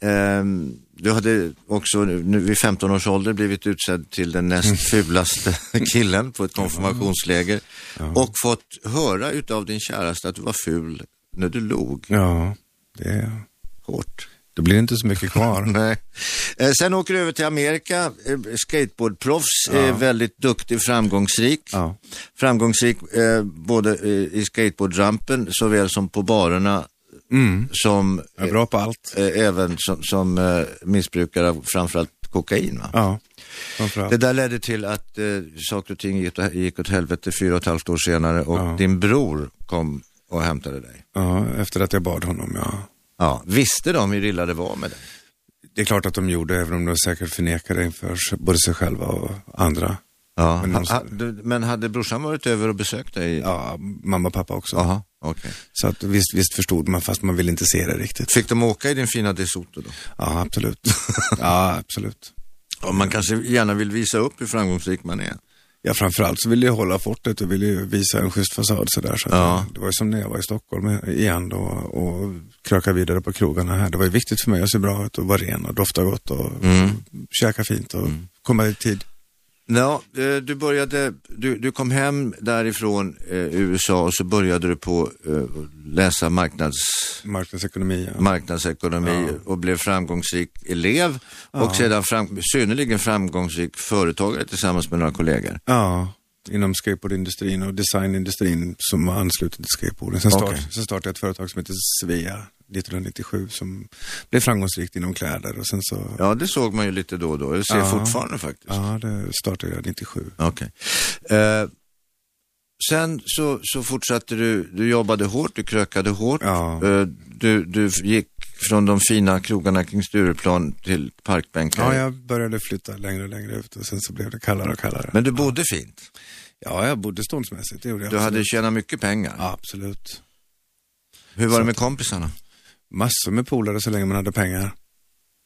S2: Ehm, du hade också nu nu vid 15 års ålder blivit utsedd till den näst
S3: Mm. (laughs)
S2: fulaste killen på ett konfirmationsläger och fått höra utav din käraste att du var ful när du log
S3: Ja, det,
S2: hårt.
S3: det blir inte så mycket kvar.
S2: Nej. Eh, sen åker du över till Amerika, eh, skateboardproffs, är väldigt duktig, framgångsrik.
S3: ja.
S2: Framgångsrik eh, både eh, i skateboardrampen såväl som på barerna
S3: (laughs) Mm.
S2: som
S3: Jag är bra på allt.
S2: eh, även som, som eh, missbrukare av framförallt kokain. Va?
S3: Ja,
S2: Det
S3: framförallt.
S2: där ledde till att eh, saker och ting gick, gick åt helvete fyra och ett halvt år senare och
S3: Ja.
S2: din bror kom och hämtade dig.
S3: Ja, efter att jag bad honom, ja.
S2: Ja. Visste de hur illa det var med dig?
S3: Det är klart att de gjorde, även om de säkert förnekade inför sig- både sig själva och andra.
S2: Ja. Men,
S3: Men de-
S2: ha, du, men hade brorsan varit över och besökt dig?
S3: Ja, mamma och pappa också.
S2: Aha, okej.
S3: Så att visst, visst förstod man, fast man ville inte se det riktigt.
S2: Fick de åka i din fina DeSoto då?
S3: Ja, absolut.
S2: (laughs)
S3: ja, absolut.
S2: Ja, man kanske gärna vill visa upp hur framgångsrik man är.
S3: Ja, framförallt så ville jag hålla fortet och ville ju visa en schysst fasad sådär. Så att
S2: Ja.
S3: Det var ju som när jag var i Stockholm igen då och kröka vidare på krogarna här. Det var ju viktigt för mig att se bra ut och vara ren och dofta gott och
S2: Mm.
S3: käka fint och komma i tid.
S2: Ja, eh, du, började, du, du kom hem därifrån eh, USA och så började du på eh, läsa marknads...
S3: Marknadsekonomi. alltså. Ja.
S2: marknadsekonomi och blev framgångsrik elev och sedan fram, synnerligen framgångsrik företagare tillsammans med några kollegor.
S3: ja. Inom skateboardindustrin och designindustrin som var anslutet till skateboarden. Sen, start,
S2: Okej.
S3: sen startade jag ett företag som heter Svea 1997 som blev framgångsrikt inom kläder och sen så, ja,
S2: Ja, det såg man ju lite då och då. Jag ser
S3: Ja.
S2: fortfarande faktiskt.
S3: det startade jag 97.
S2: Okej. Eh, sen så, så fortsatte du, du jobbade hårt, du krökade hårt.
S3: Ja.
S2: Eh, du, du gick från de fina krogarna kring Stureplan till parkbänkar.
S3: Ja, jag började flytta längre och längre ut och sen så blev det kallare och kallare.
S2: Men du bodde fint.
S3: Ja, jag bodde ståndsmässigt, det gjorde jag.
S2: Du hade
S3: absolut.
S2: tjänat mycket pengar.
S3: Ja, absolut.
S2: Hur var det med kompisarna?
S3: Massor med polare så länge man hade pengar.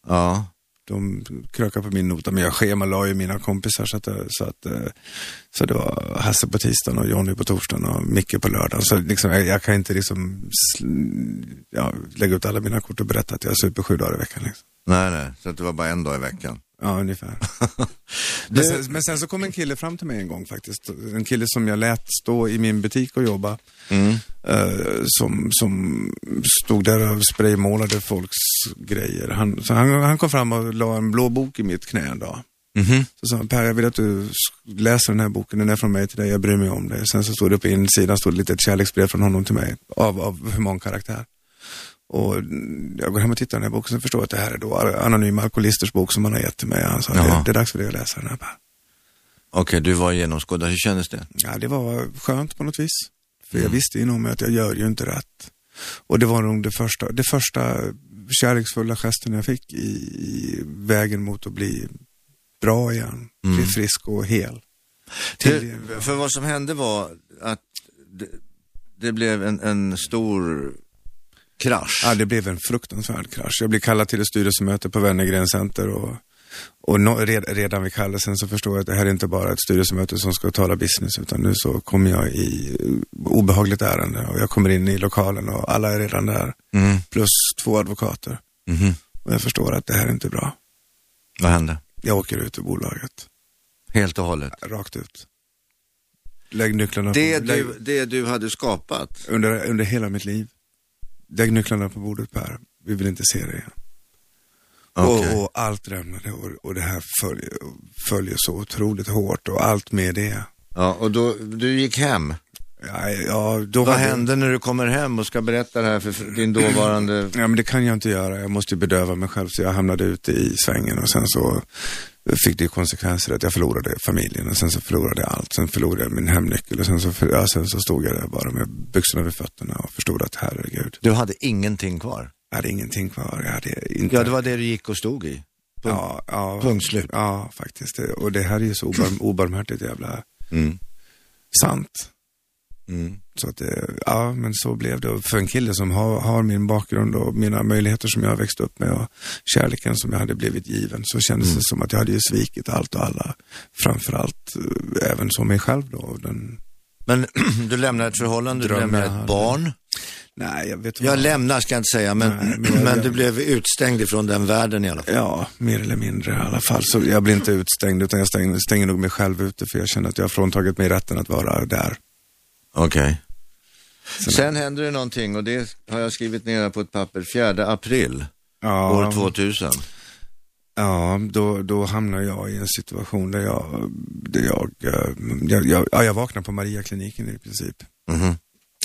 S2: Ja.
S3: De krökade på min nota, men jag schemalade ju mina kompisar så att, det- så att eh, så det var Hasse på tisdagen och Johnny på torsdagen och Micke på lördagen. Så liksom, jag, jag kan inte liksom sl- ja, lägga ut alla mina kort och berätta att jag super sju dagar i veckan. Liksom.
S2: Nej, nej, så att det var bara en dag i veckan.
S3: Ja, ungefär. men, sen, men sen så kom en kille fram till mig en gång faktiskt. En kille som jag lät stå i min butik och jobba. Eh, som, som stod där och spraymålade folks grejer. Han, så han, han kom fram och la en blå bok i mitt knä en dag. Så sa han, Per jag vill att du sk- läser den här boken, den är från mig till dig, jag bryr mig om dig. Sen så stod det på insidan, stod det ett litet kärleksbrev från honom till mig av, av humankaraktär. Och jag går hem och tittar i den här boken och förstår att det här är då Anonyma Alkoholisters bok som han har gett till mig. Han sa,
S2: Jaha.
S3: det, det är dags för dig att läsa den här. Jag bara,
S2: Okej, du var genomskådad. Hur kändes det?
S3: Ja, det var skönt på något vis. För jag visste inom mig att jag gör ju inte rätt. Och det var nog det första, det första kärleksfulla gesten jag fick i, i vägen mot att bli bra igen. Bli frisk och hel. Till-
S2: Det, för vad som hände var att det, det blev en, en stor krasch.
S3: Ja, det blev en fruktansvärd krasch. Jag blev kallad till ett styrelsemöte på Wennergren Center och, och no, red, redan vid kallelsen så förstår jag att det här är inte bara ett styrelsemöte som ska tala business utan nu så kommer jag i eh, obehagligt ärende och jag kommer in i lokalen och alla är redan där.
S2: Mm.
S3: Plus två advokater.
S2: Mhm.
S3: Och jag förstår att det här är inte bra.
S2: Vad hände?
S3: Jag åker ut ur bolaget.
S2: Helt och hållet.
S3: Rakt ut. Lägg nycklarna
S2: Det
S3: på lägg,
S2: du, det du hade skapat.
S3: under, under hela mitt liv. Lägg nycklarna på bordet Per. Vi vill inte se dig igen.
S2: Okej.
S3: Och, och allt rämnade och, och det här följer, följer så otroligt hårt och allt med det.
S2: Ja, och då, du gick hem.
S3: Ja, ja, då
S2: Vad
S3: hade-
S2: hände när du kommer hem och ska berätta det här för din dåvarande...
S3: Ja, men det kan jag inte göra. Jag måste ju bedöva mig själv så jag hamnade ute i svängen och sen så fick det konsekvenser att jag förlorade familjen och sen så förlorade jag allt. Sen förlorade jag min hemnyckel och sen så, för, ja, sen så stod jag där bara med byxorna vid fötterna och förstod att herregud,
S2: Du hade ingenting kvar.
S3: jag hade ingenting kvar. Jag hade inte...
S2: Ja, det var det du gick och stod i.
S3: ja, ja,
S2: punkt slut.
S3: Ja, faktiskt. Det- Och det här är ju så obarm, obarmhärtigt jävla
S2: Mm.
S3: sant.
S2: Mm.
S3: Så att det, ja, men så blev det. Och För en kille som har, har min bakgrund och mina möjligheter som jag har växt upp med och kärleken som jag hade blivit given så kändes det som att jag hade ju svikit allt och alla. Framförallt eh, även som mig själv då. Och Den,
S2: Men (clears throat) du lämnar ett förhållande, du
S3: Drömmen
S2: lämnar
S3: hade-
S2: ett barn.
S3: nej, jag vet
S2: Jag
S3: vad.
S2: lämnar ska jag inte säga, men,
S3: Nej, men jag
S2: men du
S3: lämnar.
S2: blev utstängd ifrån den världen i alla fall.
S3: Ja, mer eller mindre i alla fall. Så jag blir inte utstängd utan jag stänger, stänger nog mig själv ute för jag känner att jag har fråntagit mig rätten att vara där.
S2: Okej. Sen händer det någonting och det har jag skrivit ner här på ett papper, 4 april
S3: Ja,
S2: år 2000.
S3: Ja, då, då hamnar jag i en situation där jag, där jag, eh, jag, jag, ja, jag vaknar på Mariakliniken i princip.
S2: Mhm.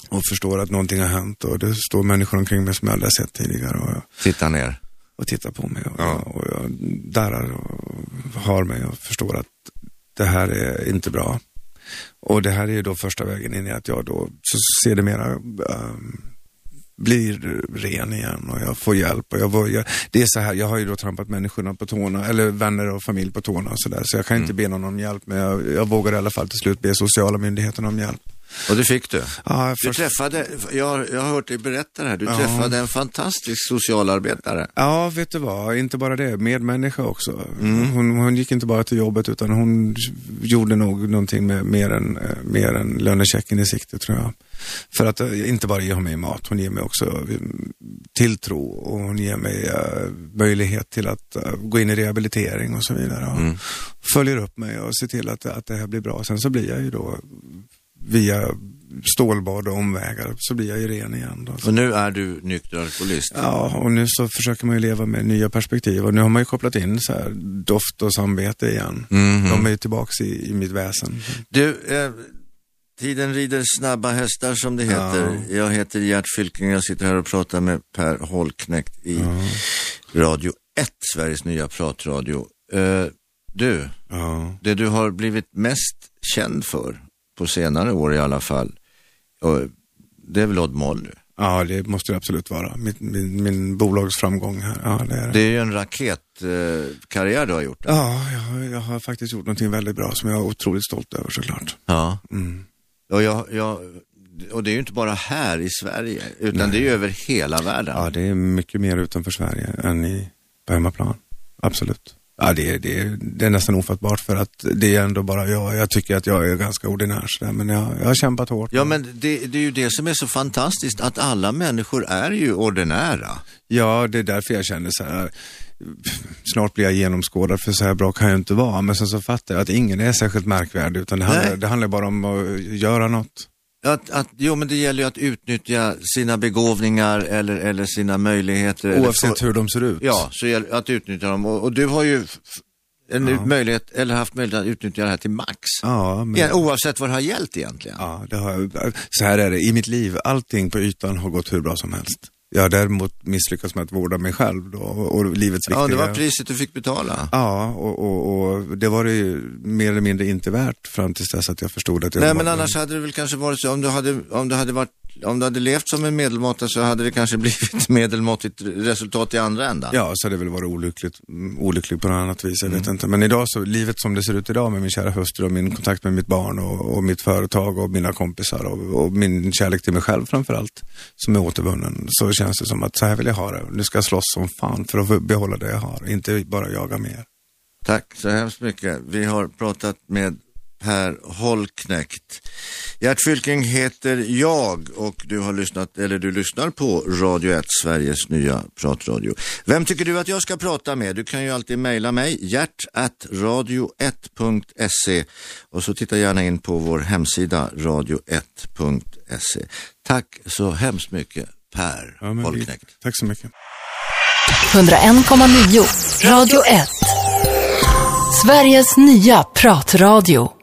S3: och förstår att någonting har hänt och det står människor omkring mig som jag aldrig har sett tidigare och,
S2: Titta ner.
S3: och tittar på mig och,
S2: Ja.
S3: och jag darrar och har mig och förstår att det här är inte bra. Och det här är ju då första vägen in i att jag då så ser det mera ehm, blir ren igen och jag får hjälp. Och jag, var- jag, det är så här, jag har ju då trampat människorna på tårna, eller vänner och familj på tårna och sådär. Så jag kan inte be någon om hjälp, men jag, jag vågar i alla fall till slut be sociala myndigheterna om hjälp.
S2: Och det fick du.
S3: Ja,
S2: Du
S3: först-
S2: träffade, jag, har- jag har hört dig berätta det här, du
S3: Ja.
S2: träffade en fantastisk socialarbetare.
S3: Ja, vet du vad, inte bara det, medmänniska också. Mm. Hon, hon gick inte bara till jobbet utan hon gjorde nog någonting med mer än, eh, mer än lönechecken i sikte tror jag. För att eh, inte bara ge mig mat, hon ger mig också eh, tilltro och hon ger mig eh, möjlighet till att eh, gå in i rehabilitering och så vidare. Och Följer upp mig och ser till att, att det här blir bra. Sen så blir jag ju då via stålbad och omvägar så blir jag ju ren igen. Då.
S2: Och nu är du nykter alkoholist.
S3: Ja, och nu så försöker man ju leva med nya perspektiv och nu har man ju kopplat in så här doft och samvete igen.
S2: Mhm.
S3: De är ju tillbaks i, i mitt väsen.
S2: Du, eh, tiden rider snabba hästar som det heter. Jag heter Gert Fylking och jag sitter här och pratar med Per Holknekt i Radio 1, Sveriges nya pratradio. Eh, du,
S3: Ja.
S2: det du har blivit mest känd för på senare år i alla fall, eh, det är väl Odd Molly?
S3: ja, det måste det absolut vara. Min, min, min bolagsframgång här. Ja, det är det.
S2: Det är ju en raketkarriär eh, karriär du har gjort.
S3: Ja, jag, har- jag har faktiskt gjort någonting väldigt bra som jag är otroligt stolt över såklart.
S2: Ja.
S3: Mm.
S2: Och, jag, jag, och det är ju inte bara här i Sverige, utan det är ju över hela världen.
S3: Ja, det är mycket mer utanför Sverige än i, på hemmaplan. Absolut. Ja, det, är- det, är- det är nästan ofattbart för att det är ändå bara jag. Jag tycker att jag är ganska ordinär sådär, men jag, jag har kämpat hårt.
S2: Ja, men det, det är ju det som är så fantastiskt, att alla människor är ju ordinära.
S3: Ja, det är därför jag känner så här. Snart blir jag genomskådad för så här bra kan jag inte vara. Men sen så fattar jag att ingen är särskilt märkvärdig utan det handlar,
S2: Nej.
S3: det handlar bara om att göra något.
S2: Att, att, jo, men det gäller ju att utnyttja sina begåvningar eller, eller sina möjligheter. eller,
S3: Oavsett hur de ser ut.
S2: Ja, så gäller det att utnyttja dem. Och, och du har ju f- en ut- möjlighet, eller haft möjlighet att utnyttja det här till max.
S3: Ja, men,
S2: Igen, oavsett vad det har gällt egentligen.
S3: ja det har, jag- så här är det. I mitt liv, allting på ytan har gått hur bra som helst. Jag har däremot misslyckats med att vårda mig själv då, och och livets viktiga.
S2: Ja, det var priset du fick betala.
S3: Ja, och, och, och det var det ju mer eller mindre inte värt fram tills dess att jag förstod att jag
S2: Nej,
S3: var-
S2: men annars hade det väl kanske varit så, om du hade, om du hade, varit, om du hade levt som en medelmåtta så hade det kanske (laughs) blivit medelmåttigt resultat i andra ändan.
S3: Ja, så hade det väl varit olyckligt, mm, olyckligt på något annat vis, jag vet inte. Men idag så, livet som det ser ut idag med min kära hustru och min kontakt med mitt barn och, och mitt företag och mina kompisar och, och min kärlek till mig själv framförallt, som är återvunnen, så känns det som att så här vill jag ha det. Nu ska jag slåss som fan för att få behålla det jag har, inte bara jaga mer.
S2: Tack så hemskt mycket. Vi har pratat med Per Holknekt. Gert Fylking heter jag och du har lyssnat, eller du lyssnar på Radio 1, Sveriges nya pratradio. Vem tycker du att jag ska prata med? Du kan ju alltid mejla mig, hjärtradio1.se och så titta gärna in på vår hemsida radio1.se. Tack så hemskt mycket Per
S3: Ja, men vi-
S2: Holknekt.
S3: Tack så mycket.
S1: 101,9. Radio 1. Sveriges nya pratradio.